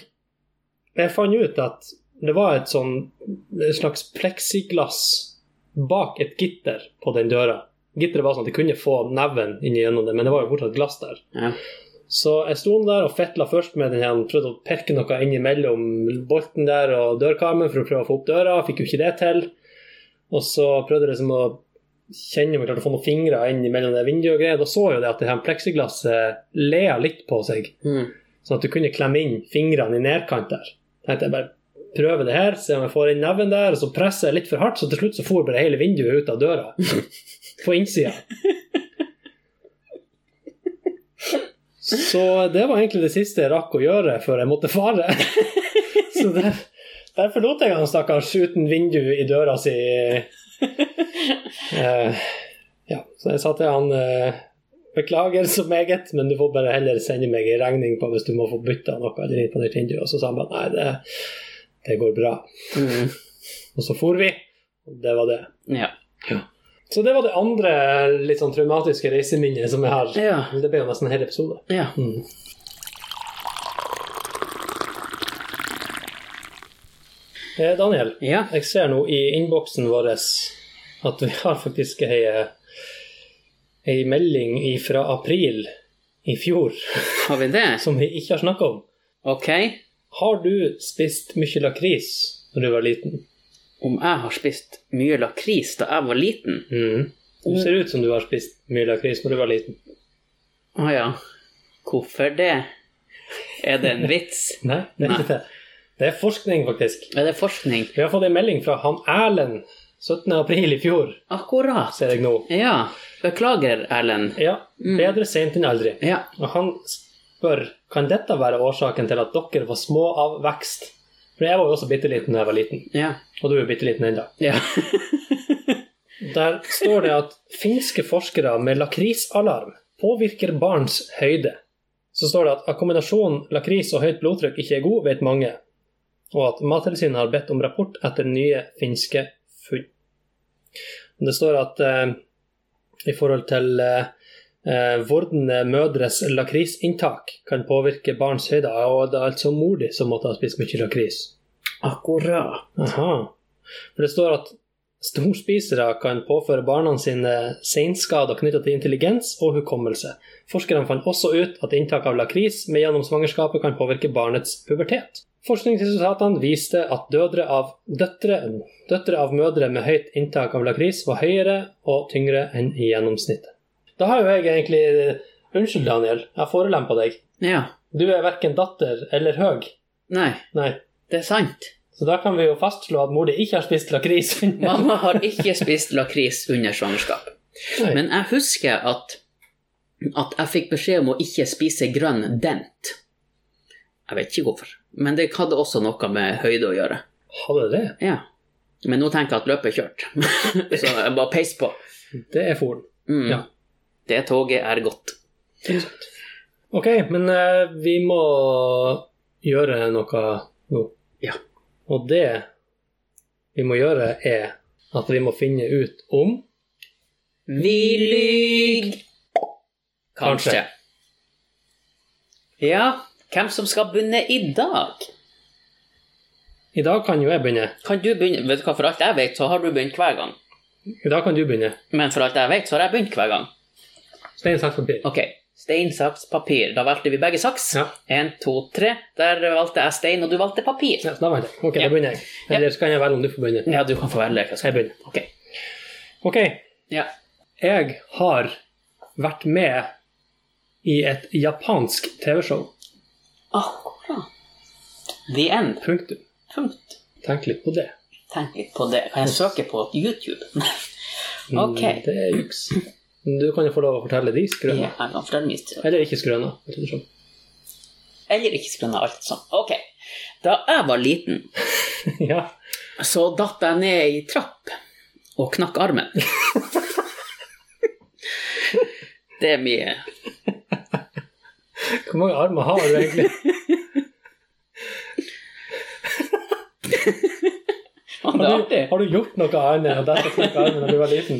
Speaker 1: jeg fant ut at det var et sånn et slags pleksiglass bak et gitter på den døra. Gitteret var sånn at jeg kunne få neven inn gjennom det, men det var jo fortsatt glass der.
Speaker 2: Ja.
Speaker 1: Så jeg sto der og fetla først med den her, prøvde å pirke noe innimellom bolten der og dørkarmen for å prøve å få opp døra, fikk jo ikke det til. Og så prøvde jeg liksom å kjenne om jeg klarte å få noen fingre inn mellom det vinduet og greier. Da så jeg jo det at det her pleksiglasset lea litt på seg,
Speaker 2: Mm.
Speaker 1: sånn at du kunne klemme inn fingrene i nedkant der. Tenkte jeg bare prøve det her, se om jeg får inn neven der, og så presser jeg litt for hardt, så til slutt så for bare hele vinduet ut av døra. På innsida. Så det var egentlig det siste jeg rakk å gjøre før jeg måtte fare. Så der, der forlot jeg han stakkars uten vindu i døra si. Eh, ja, så jeg sa til han eh, Beklager så meget, men du får bare heller sende meg en regning på hvis du må få bytta noe eller inn på ditt vindu. Og så sa han bare nei, det, det går bra.
Speaker 2: Mm.
Speaker 1: Og så for vi, og det var det.
Speaker 2: Ja.
Speaker 1: Så det var det andre litt sånn traumatiske reiseminnet som jeg har.
Speaker 2: Ja.
Speaker 1: Det ble jo nesten en hel episode.
Speaker 2: ja.
Speaker 1: Mm. Eh, Daniel,
Speaker 2: ja.
Speaker 1: jeg ser nå i innboksen vår at vi har faktisk ei, eh, ei melding fra april i fjor
Speaker 2: Har vi det?
Speaker 1: som vi ikke har snakka om.
Speaker 2: Ok.
Speaker 1: Har du spist mye lakris når du var liten?
Speaker 2: Om jeg har spist mye lakris da jeg var liten?
Speaker 1: Du ser ut som du har spist mye lakris når du var liten.
Speaker 2: Å ja. Hvorfor det? Er det en vits?
Speaker 1: Nei, det er ikke det. Det er forskning, faktisk.
Speaker 2: Er det forskning?
Speaker 1: Vi har fått en melding fra han Erlend 17. april i fjor,
Speaker 2: Akkurat.
Speaker 1: ser jeg nå.
Speaker 2: Ja. Beklager, Erlend.
Speaker 1: Ja,
Speaker 2: Mm.
Speaker 1: bedre sent enn aldri.
Speaker 2: Ja.
Speaker 1: Og han spør kan dette være årsaken til at dere var små av vekst. For jeg var jo også bitte liten da jeg var liten,
Speaker 2: Ja.
Speaker 1: og du er jo bitte liten ennå.
Speaker 2: Ja.
Speaker 1: Der står det at finske forskere med lakrisalarm påvirker barns høyde. Så står det at av kombinasjonen lakris og høyt blodtrykk ikke er god, vet mange. Og at Mattilsynet har bedt om rapport etter nye finske funn. Det står at eh, i forhold til eh, eh, vordende mødres lakrisinntak kan påvirke barns høyde, og det er altså mor di som måtte ha spist mye lakris.
Speaker 2: Akkurat.
Speaker 1: Aha. For det står at storspisere kan påføre barna sine senskader knytta til intelligens og hukommelse. Forskerne fant også ut at inntak av lakris med gjennom svangerskapet kan påvirke barnets pubertet. Forskningsresultatene viste at dødre av døtre, døtre av mødre med høyt inntak av lakris var høyere og tyngre enn i gjennomsnittet. Da har jo jeg egentlig Unnskyld, Daniel, jeg forelempa deg.
Speaker 2: Ja.
Speaker 1: Du er verken datter eller høg.
Speaker 2: Nei,
Speaker 1: Nei.
Speaker 2: det er sant.
Speaker 1: Så da kan vi jo fastslå at mor di ikke har spist lakris.
Speaker 2: Mamma har ikke spist lakris under svangerskap.
Speaker 1: Nei.
Speaker 2: Men jeg husker at, at jeg fikk beskjed om å ikke spise grønn dent. Jeg vet ikke hvorfor. Men det hadde også noe med høyde å gjøre.
Speaker 1: Hadde det?
Speaker 2: Ja. Men nå tenker jeg at løpet er kjørt. Så jeg bare peis på.
Speaker 1: Det er foren.
Speaker 2: Mm.
Speaker 1: Ja.
Speaker 2: Det toget er godt.
Speaker 1: Ok, men eh, vi må gjøre noe nå.
Speaker 2: Ja.
Speaker 1: Og det vi må gjøre, er at vi må finne ut om
Speaker 2: Vi lyg Kanskje.
Speaker 1: Kanskje.
Speaker 2: Ja, hvem som skal begynne i dag?
Speaker 1: I dag kan jo jeg begynne.
Speaker 2: Kan du begynne? Vet du hva, For alt jeg vet, så har du begynt hver gang.
Speaker 1: I dag kan du begynne.
Speaker 2: Men for alt jeg vet, så har jeg begynt hver gang.
Speaker 1: Stein, saks, papir.
Speaker 2: Ok, Stein, saks, papir. Da valgte vi begge saks.
Speaker 1: Ja.
Speaker 2: Én, to, tre. Der valgte jeg stein, og du valgte papir.
Speaker 1: Ja, så da vant jeg. Ok,
Speaker 2: Ja.
Speaker 1: da begynner jeg. Eller så kan jeg velge om du får begynne.
Speaker 2: Ja, du kan få velge. hva
Speaker 1: Jeg
Speaker 2: skal-
Speaker 1: begynner.
Speaker 2: Ok.
Speaker 1: Ok,
Speaker 2: Ja.
Speaker 1: jeg har vært med i et japansk TV-show.
Speaker 2: Akkurat. The end.
Speaker 1: Punktum.
Speaker 2: Punkt.
Speaker 1: Tenk litt på det.
Speaker 2: Tenk litt på det. Kan jeg søke på YouTube? Ok.
Speaker 1: Mm, Det er juks. Men Du kan jo få lov å fortelle de
Speaker 2: Ja,
Speaker 1: skrøna.
Speaker 2: jeg kan fortelle mye til
Speaker 1: Eller ikke skrøna. vet du sånn.
Speaker 2: Eller ikke skrøna, alt sånn. Ok. Da jeg var liten,
Speaker 1: ja.
Speaker 2: så datt jeg ned ei trapp og knakk armen. Det er mye.
Speaker 1: Hvor mange armer har du egentlig?
Speaker 2: Og
Speaker 1: Har du,
Speaker 2: da-
Speaker 1: har du gjort noe annet enn dette knakk armen da du var liten?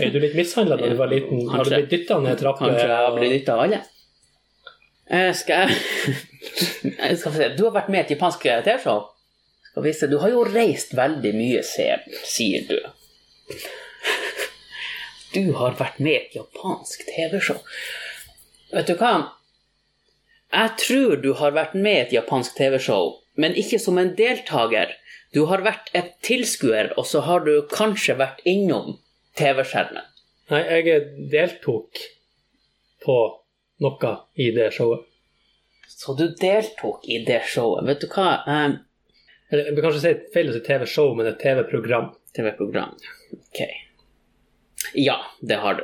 Speaker 1: Er du litt mishandla da du var liten? Har du
Speaker 2: Kanskje.
Speaker 1: blitt dytta ned trapper?
Speaker 2: Kanskje jeg
Speaker 1: og-
Speaker 2: blir nytta av alle. Eh, Skal jeg Jeg skal få se. Du har vært med i et japansk TV-show. Skal vi se. Du har jo reist veldig mye, se- sier du. Du har vært med i et japansk TV-show. Vet du hva? Jeg tror du har vært med i et japansk TV-show, men ikke som en deltaker. Du har vært et tilskuer, og så har du kanskje vært innom TV-skjermen.
Speaker 1: Nei, jeg eh, deltok på noe i det showet.
Speaker 2: Så du deltok i det showet. Vet du hva? Eh,
Speaker 1: Eller jeg vil kanskje si feil å si TV-show, men et TV-program.
Speaker 2: TV-program. Ok. Ja, det har du.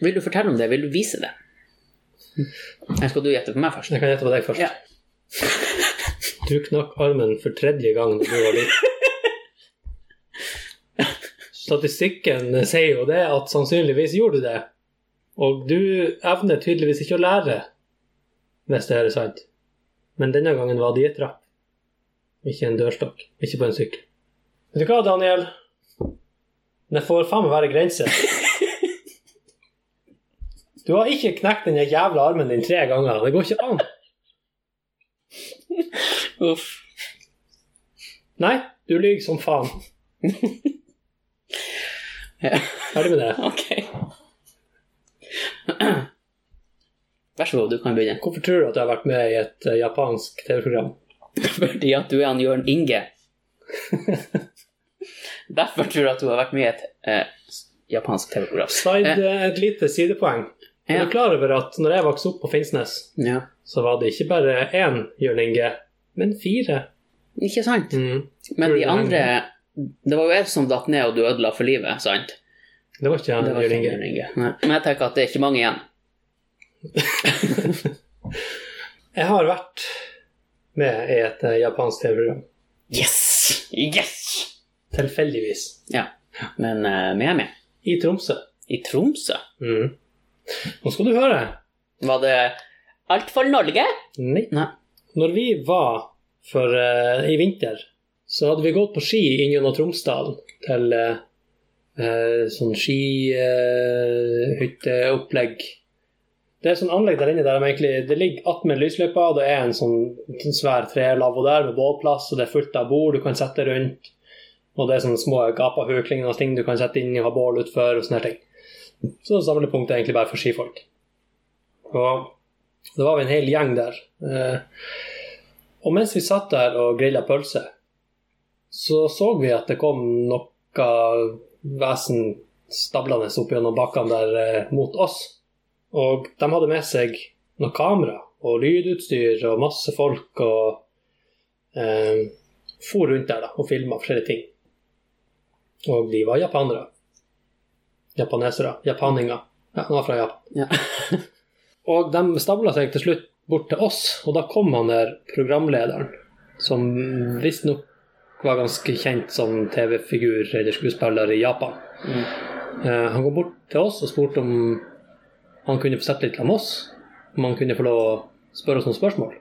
Speaker 2: Vil du fortelle om det? Vil du vise det? Eller skal du gjette på meg først?
Speaker 1: Jeg kan gjette på deg først.
Speaker 2: Ja.
Speaker 1: Du knakk armen for tredje gang da du var liten. Statistikken sier jo det, at sannsynligvis gjorde du det. Og du evner tydeligvis ikke å lære, hvis det her er sant. Men denne gangen var det i en trapp, ikke en dørstokk, ikke på en sykkel. Vet du hva, Daniel? Det får faen meg være grenser. Du har ikke knekt den jævla armen din tre ganger. Det går ikke an.
Speaker 2: Uff.
Speaker 1: Nei, du lyver som faen.
Speaker 2: Ja.
Speaker 1: Ferdig med det.
Speaker 2: Ok. Vær så god, du kan begynne.
Speaker 1: Hvorfor tror du at jeg har vært med i et eh, japansk TV-program?
Speaker 2: Fordi at du er han Jørn Inge. Derfor tror jeg at du har vært med i et eh, japansk TV-program.
Speaker 1: Side, eh, et lite sidepoeng. Er
Speaker 2: Ja.
Speaker 1: du klar over at når jeg vokste opp på Finnsnes,
Speaker 2: Ja.
Speaker 1: så var det ikke bare én Jørn Inge, men fire.
Speaker 2: Ikke sant?
Speaker 1: Mm.
Speaker 2: Men
Speaker 1: Tror du
Speaker 2: de
Speaker 1: det
Speaker 2: andre
Speaker 1: henger?
Speaker 2: Det var jo jeg som datt ned, og du ødela for livet, sant?
Speaker 1: Det var ikke
Speaker 2: Det
Speaker 1: han
Speaker 2: var
Speaker 1: Jørn
Speaker 2: ikke
Speaker 1: Inge.
Speaker 2: Jørn Inge. Nei. Men jeg tenker at det er ikke mange igjen.
Speaker 1: Jeg har vært med i et eh, japansk TV-program.
Speaker 2: Yes! Yes!
Speaker 1: Tilfeldigvis.
Speaker 2: Ja. Men eh, vi er med.
Speaker 1: I Tromsø.
Speaker 2: I Tromsø.
Speaker 1: Mm. Nå skal du høre.
Speaker 2: Var det alt for Norge?
Speaker 1: Nei.
Speaker 2: Nei.
Speaker 1: Når vi var for, eh, i vinter, så hadde vi gått på ski inn gjennom Tromsdalen til eh, eh, sånn skihytteopplegg. det er sånn anlegg der inne der de egentlig, det ligger attmed lysløypa, og det er en sånn, sånn svær trelavvo der med bålplass, og det er fullt av bord du kan sette rundt. Og det er sånne små gapahuk lignende ting du kan sette inn og ha bål utfor og sånne ting. Så det samlepunktet er egentlig bare for skifolk. Og det var vi en hel gjeng der. Eh, og mens vi satt der og grilla pølse, så så vi at det kom noe vesen stablende opp gjennom bakkene der eh, mot oss. Og de hadde med seg noe kamera og lydutstyr og masse folk og eh, for rundt der da, og filma forskjellige ting. Og de var japanere. Japanesere. Japaninger. Ja, han var fra Japan.
Speaker 2: Ja.
Speaker 1: Og de stabla seg til slutt bort til oss, og da kom han der programlederen, som visstnok var ganske kjent som TV-figur eller skuespiller i Japan.
Speaker 2: Mm.
Speaker 1: Eh, Han kom bort til oss og spurte om han kunne få sett litt om oss, om han kunne få lov å spørre oss noen spørsmål.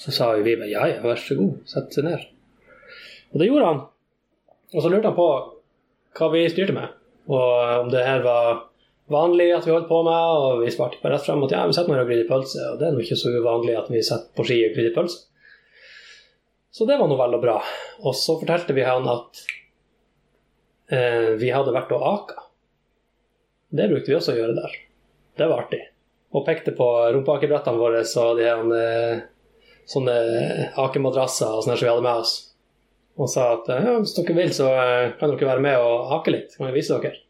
Speaker 1: Så sa jo vi bare ja, ja, vær så god, sett seg ned. Og det gjorde han. Og så lurte han på hva vi styrte med, og om det her var vanlig at vi holdt på med, og vi svarte bare rett frem at ja, vi setter ned og griller pølse, og det er nå ikke så uvanlig at vi setter på ski og griller pølse. Så det var nå vel og bra. Og så fortalte vi han at eh, vi hadde vært og aka. Det brukte vi også å gjøre der. Det var artig. Og pekte på rumpeakebrettene våre og de her eh, sånne akemadrasser og sånne som vi hadde med oss. Og sa at eh, ja, hvis dere vil, så eh, kan dere være med og hake litt. Kan jeg vise dere?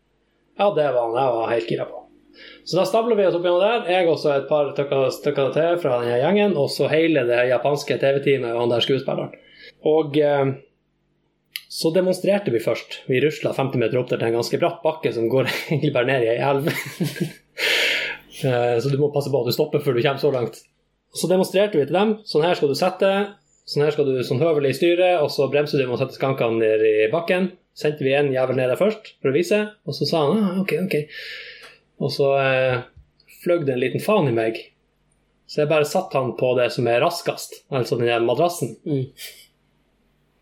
Speaker 1: Ja, det var han jeg var helt gira på. Så da stabler vi oss opp gjennom der, jeg og så et par stykker stykker til fra denne gjengen, og så hele det japanske TV-teamet og han der skuespilleren. Og eh, så demonstrerte vi først. Vi rusla 50 meter opp der til en ganske bratt bakke som går egentlig bare ned i ei elv. Eh, så du må passe på at du stopper før du kommer så langt. Så demonstrerte vi til dem. Sånn her skal du sette. Sånn her skal du sånn høvelig styre, og så bremser du med å sette skankene ned i bakken. Sendte vi en jævel ned der først for å vise, og så sa han ah, OK, OK. Og så eh, fløy det en liten faen i meg. Så jeg bare satte han på det som er raskest, altså den der madrassen.
Speaker 2: Mm.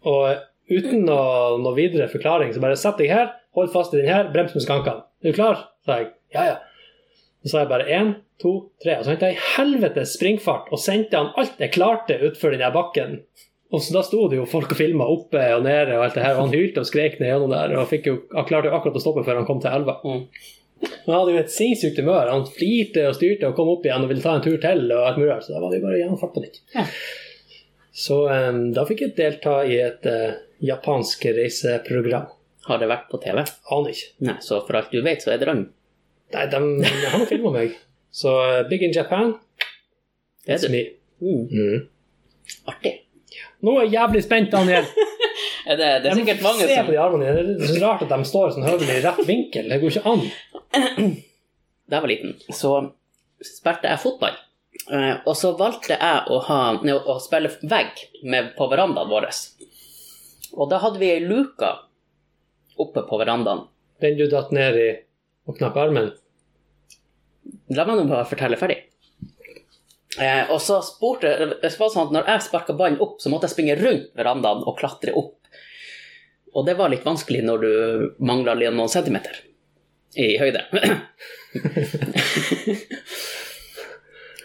Speaker 1: Og uten noe, noe videre forklaring, så bare sett deg her, hold fast i den her, brems med skankene. Er du klar? sa jeg. Ja, ja. Så sa jeg bare én, to, tre. Og så henta jeg i helvetes springfart og sendte han alt jeg klarte utfor den der bakken. Og så Da sto det jo folk og filma oppe og nede, og alt det her, og han hylte og skrek ned gjennom der. Og fikk jo, han klarte jo akkurat å stoppe før han kom til elva.
Speaker 2: Mm.
Speaker 1: Han hadde jo et sinnssykt humør. Han flirte og styrte og kom opp igjen og ville ta en tur til. og alt mulig. Så da var det jo bare å gi han fart på nytt.
Speaker 2: Ja.
Speaker 1: Så em, da fikk jeg delta i et eh, japansk reiseprogram.
Speaker 2: Har det vært på TV?
Speaker 1: Aner ikke.
Speaker 2: Nei, så for alt du vet, så er det drøm.
Speaker 1: Nei, de, de har filma meg. Så eh, Big in Japan.
Speaker 2: Det er
Speaker 1: It's
Speaker 2: det.
Speaker 1: me.
Speaker 2: Mm.
Speaker 1: Mm.
Speaker 2: Artig.
Speaker 1: Nå er jeg jævlig spent, Daniel.
Speaker 2: Er det, det er
Speaker 1: Jeg må
Speaker 2: sikkert mange
Speaker 1: se
Speaker 2: som
Speaker 1: på de armene dine. Det er så rart at de står sånn høvelig i rett vinkel. Det går ikke an.
Speaker 2: da jeg var liten, så spilte jeg fotball. Eh, Og så valgte jeg å, ha, nei, å spille vegg med, på verandaen vår. Og da hadde vi ei luke oppe på verandaen.
Speaker 1: Den du datt ned i og knakk armen.
Speaker 2: La meg nå bare fortelle ferdig. Eh, og så spurte det var sånn at Når jeg sparka ballen opp, så måtte jeg springe rundt verandaen og klatre opp. Og det var litt vanskelig når du mangla noen centimeter i høyde.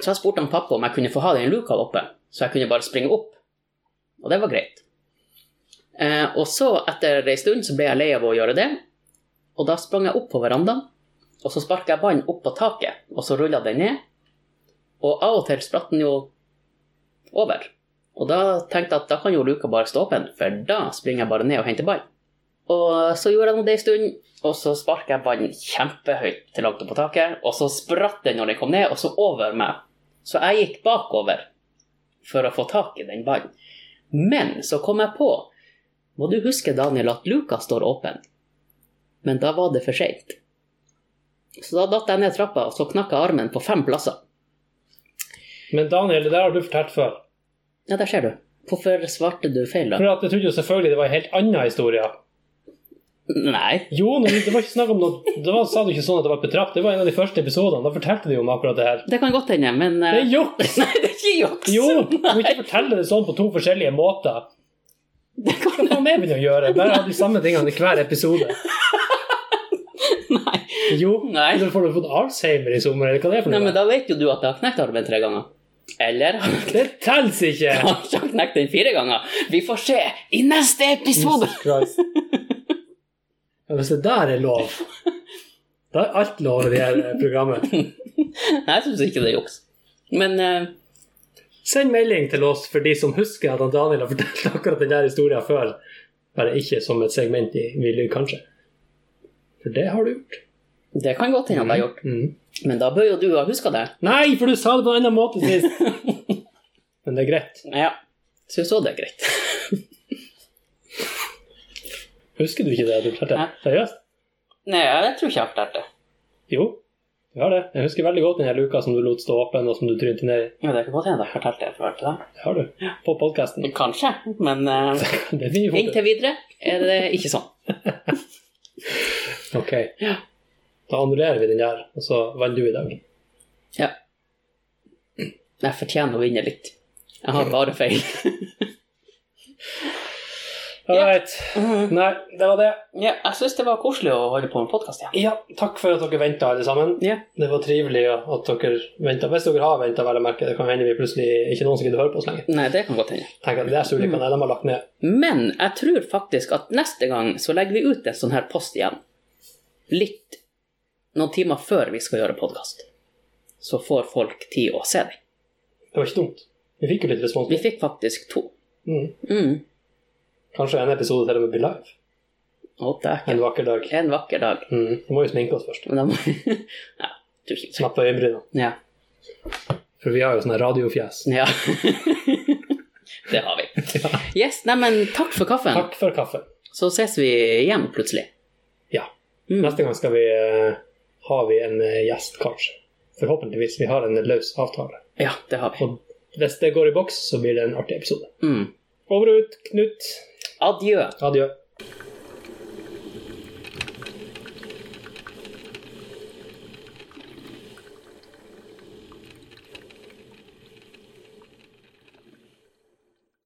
Speaker 2: så jeg spurte han pappa om jeg kunne få ha den luka oppe, så jeg kunne bare springe opp. Og det var greit. Eh, og så, etter ei stund, så ble jeg lei av å gjøre det, og da sprang jeg opp på verandaen. Og så sparka jeg ballen opp på taket, og så rulla den ned. Og av og til spratt den jo over. Og da tenkte jeg at da kan jo luka bare stå åpen, for da springer jeg bare ned og henter ball. Og så gjorde jeg nå det en stund, og så sparka jeg ballen kjempehøyt til langt opp på taket, og så spratt den når den kom ned, og så over meg. Så jeg gikk bakover for å få tak i den ballen. Men så kom jeg på Må du huske, Daniel, at luka står åpen. Men da var det for seint. Så da datt jeg ned trappa, og så knakk jeg armen på fem plasser.
Speaker 1: Men Daniel, det der har du fortalt før.
Speaker 2: Ja, der ser du. Hvorfor svarte du feil, da?
Speaker 1: For at jeg trodde jo selvfølgelig det var en helt annen historie.
Speaker 2: Nei.
Speaker 1: Jo, men det var ikke snakk om noe Det var, sa du ikke sånn at det var betrapt. Det var en av de første episodene. Da fortalte de jo om akkurat det her.
Speaker 2: Det kan godt hende, men
Speaker 1: Det er
Speaker 2: eh,
Speaker 1: juks!
Speaker 2: Nei, det er ikke juks!
Speaker 1: Jo, du må ikke fortelle det sånn på to forskjellige måter.
Speaker 2: Det
Speaker 1: Hva
Speaker 2: kan...
Speaker 1: faen er det å gjøre? Bare ha de samme tingene i hver episode.
Speaker 2: Nei.
Speaker 1: Jo,
Speaker 2: Nei.
Speaker 1: eller får du fått Alzheimer i sommer, eller hva det er for
Speaker 2: Nei,
Speaker 1: noe?
Speaker 2: men da vet jo du at jeg har knekt armen tre ganger. Eller har jeg
Speaker 1: Det telles ikke!
Speaker 2: kanskje har knekt den fire ganger? Vi får se i neste episode!
Speaker 1: Jesus Christ. Ja, Hvis det der er lov, da er alt lov i det her eh, programmet.
Speaker 2: Nei, jeg syns ikke det er juks. Men eh,
Speaker 1: Send melding til oss for de som husker at han Daniel har fortalt akkurat den der historien før. Bare ikke som et segment i Vi lyver kanskje. For det har du gjort.
Speaker 2: det kan godt hende at jeg har gjort.
Speaker 1: Mm.
Speaker 2: Men da bør jo du ha huska det.
Speaker 1: Nei, for du sa det på en annen måte sist! Men det er greit.
Speaker 2: Ja. Syns òg det er greit.
Speaker 1: Husker du ikke det du fortalte?
Speaker 2: Hæ?
Speaker 1: Seriøst?
Speaker 2: Nei, jeg tror ikke jeg har fortalt det.
Speaker 1: Jo, du har det. Jeg husker veldig godt den her luka som du lot stå åpen, og som du trynte ned i.
Speaker 2: Ja, det kan godt hende jeg har fortalt det før til deg.
Speaker 1: Det har du. På podkasten.
Speaker 2: Kanskje, men eh,
Speaker 1: Det finner vi fort ut.
Speaker 2: Inntil videre er det ikke sånn.
Speaker 1: Ok. Da annullerer vi den der, og så velger du i dag.
Speaker 2: Ja. Jeg fortjener å vinne litt. Jeg har bare feil. Ja.
Speaker 1: Alright. Nei, det var det.
Speaker 2: Mhm. Ja, jeg syns det var koselig å holde på med podkast igjen.
Speaker 1: Ja, takk for at dere venta, alle sammen.
Speaker 2: Ja.
Speaker 1: Det var trivelig at dere venta. Hvis dere har venta, vel å merke. Det kan hende vi plutselig ikke er noen som gidder å høre på oss lenger.
Speaker 2: Nei, det kan godt hende.
Speaker 1: Tenk at det er Sulikan, de har lagt ned.
Speaker 2: Men jeg tror faktisk at neste gang så legger vi ut en sånn her post igjen. Litt noen timer før vi skal gjøre podkast. så får folk tid å se den.
Speaker 1: Det var ikke dumt. Vi fikk jo litt respons.
Speaker 2: Vi fikk faktisk to.
Speaker 1: Mm.
Speaker 2: Mm.
Speaker 1: Kanskje en episode til og med blir live
Speaker 2: Og det er ikke
Speaker 1: en vakker dag.
Speaker 2: en vakker dag.
Speaker 1: Mm. Vi må jo sminke oss først.
Speaker 2: Men da må Nei, tror ikke
Speaker 1: Snappe øyenbryna.
Speaker 2: Ja.
Speaker 1: For vi har jo sånne radiofjes.
Speaker 2: ja. det har vi. Yes, nei, men takk for kaffen.
Speaker 1: Takk for kaffen.
Speaker 2: Så ses vi igjen plutselig.
Speaker 1: Ja.
Speaker 2: Mm.
Speaker 1: Neste gang skal vi eh, har vi en eh, gjest, kanskje. Forhåpentligvis. Vi har en løs avtale.
Speaker 2: Ja, det har vi.
Speaker 1: Og hvis det går i boks, så blir det en artig episode.
Speaker 2: Mm.
Speaker 1: Over og ut, Knut.
Speaker 2: Adjø.
Speaker 1: Adjø.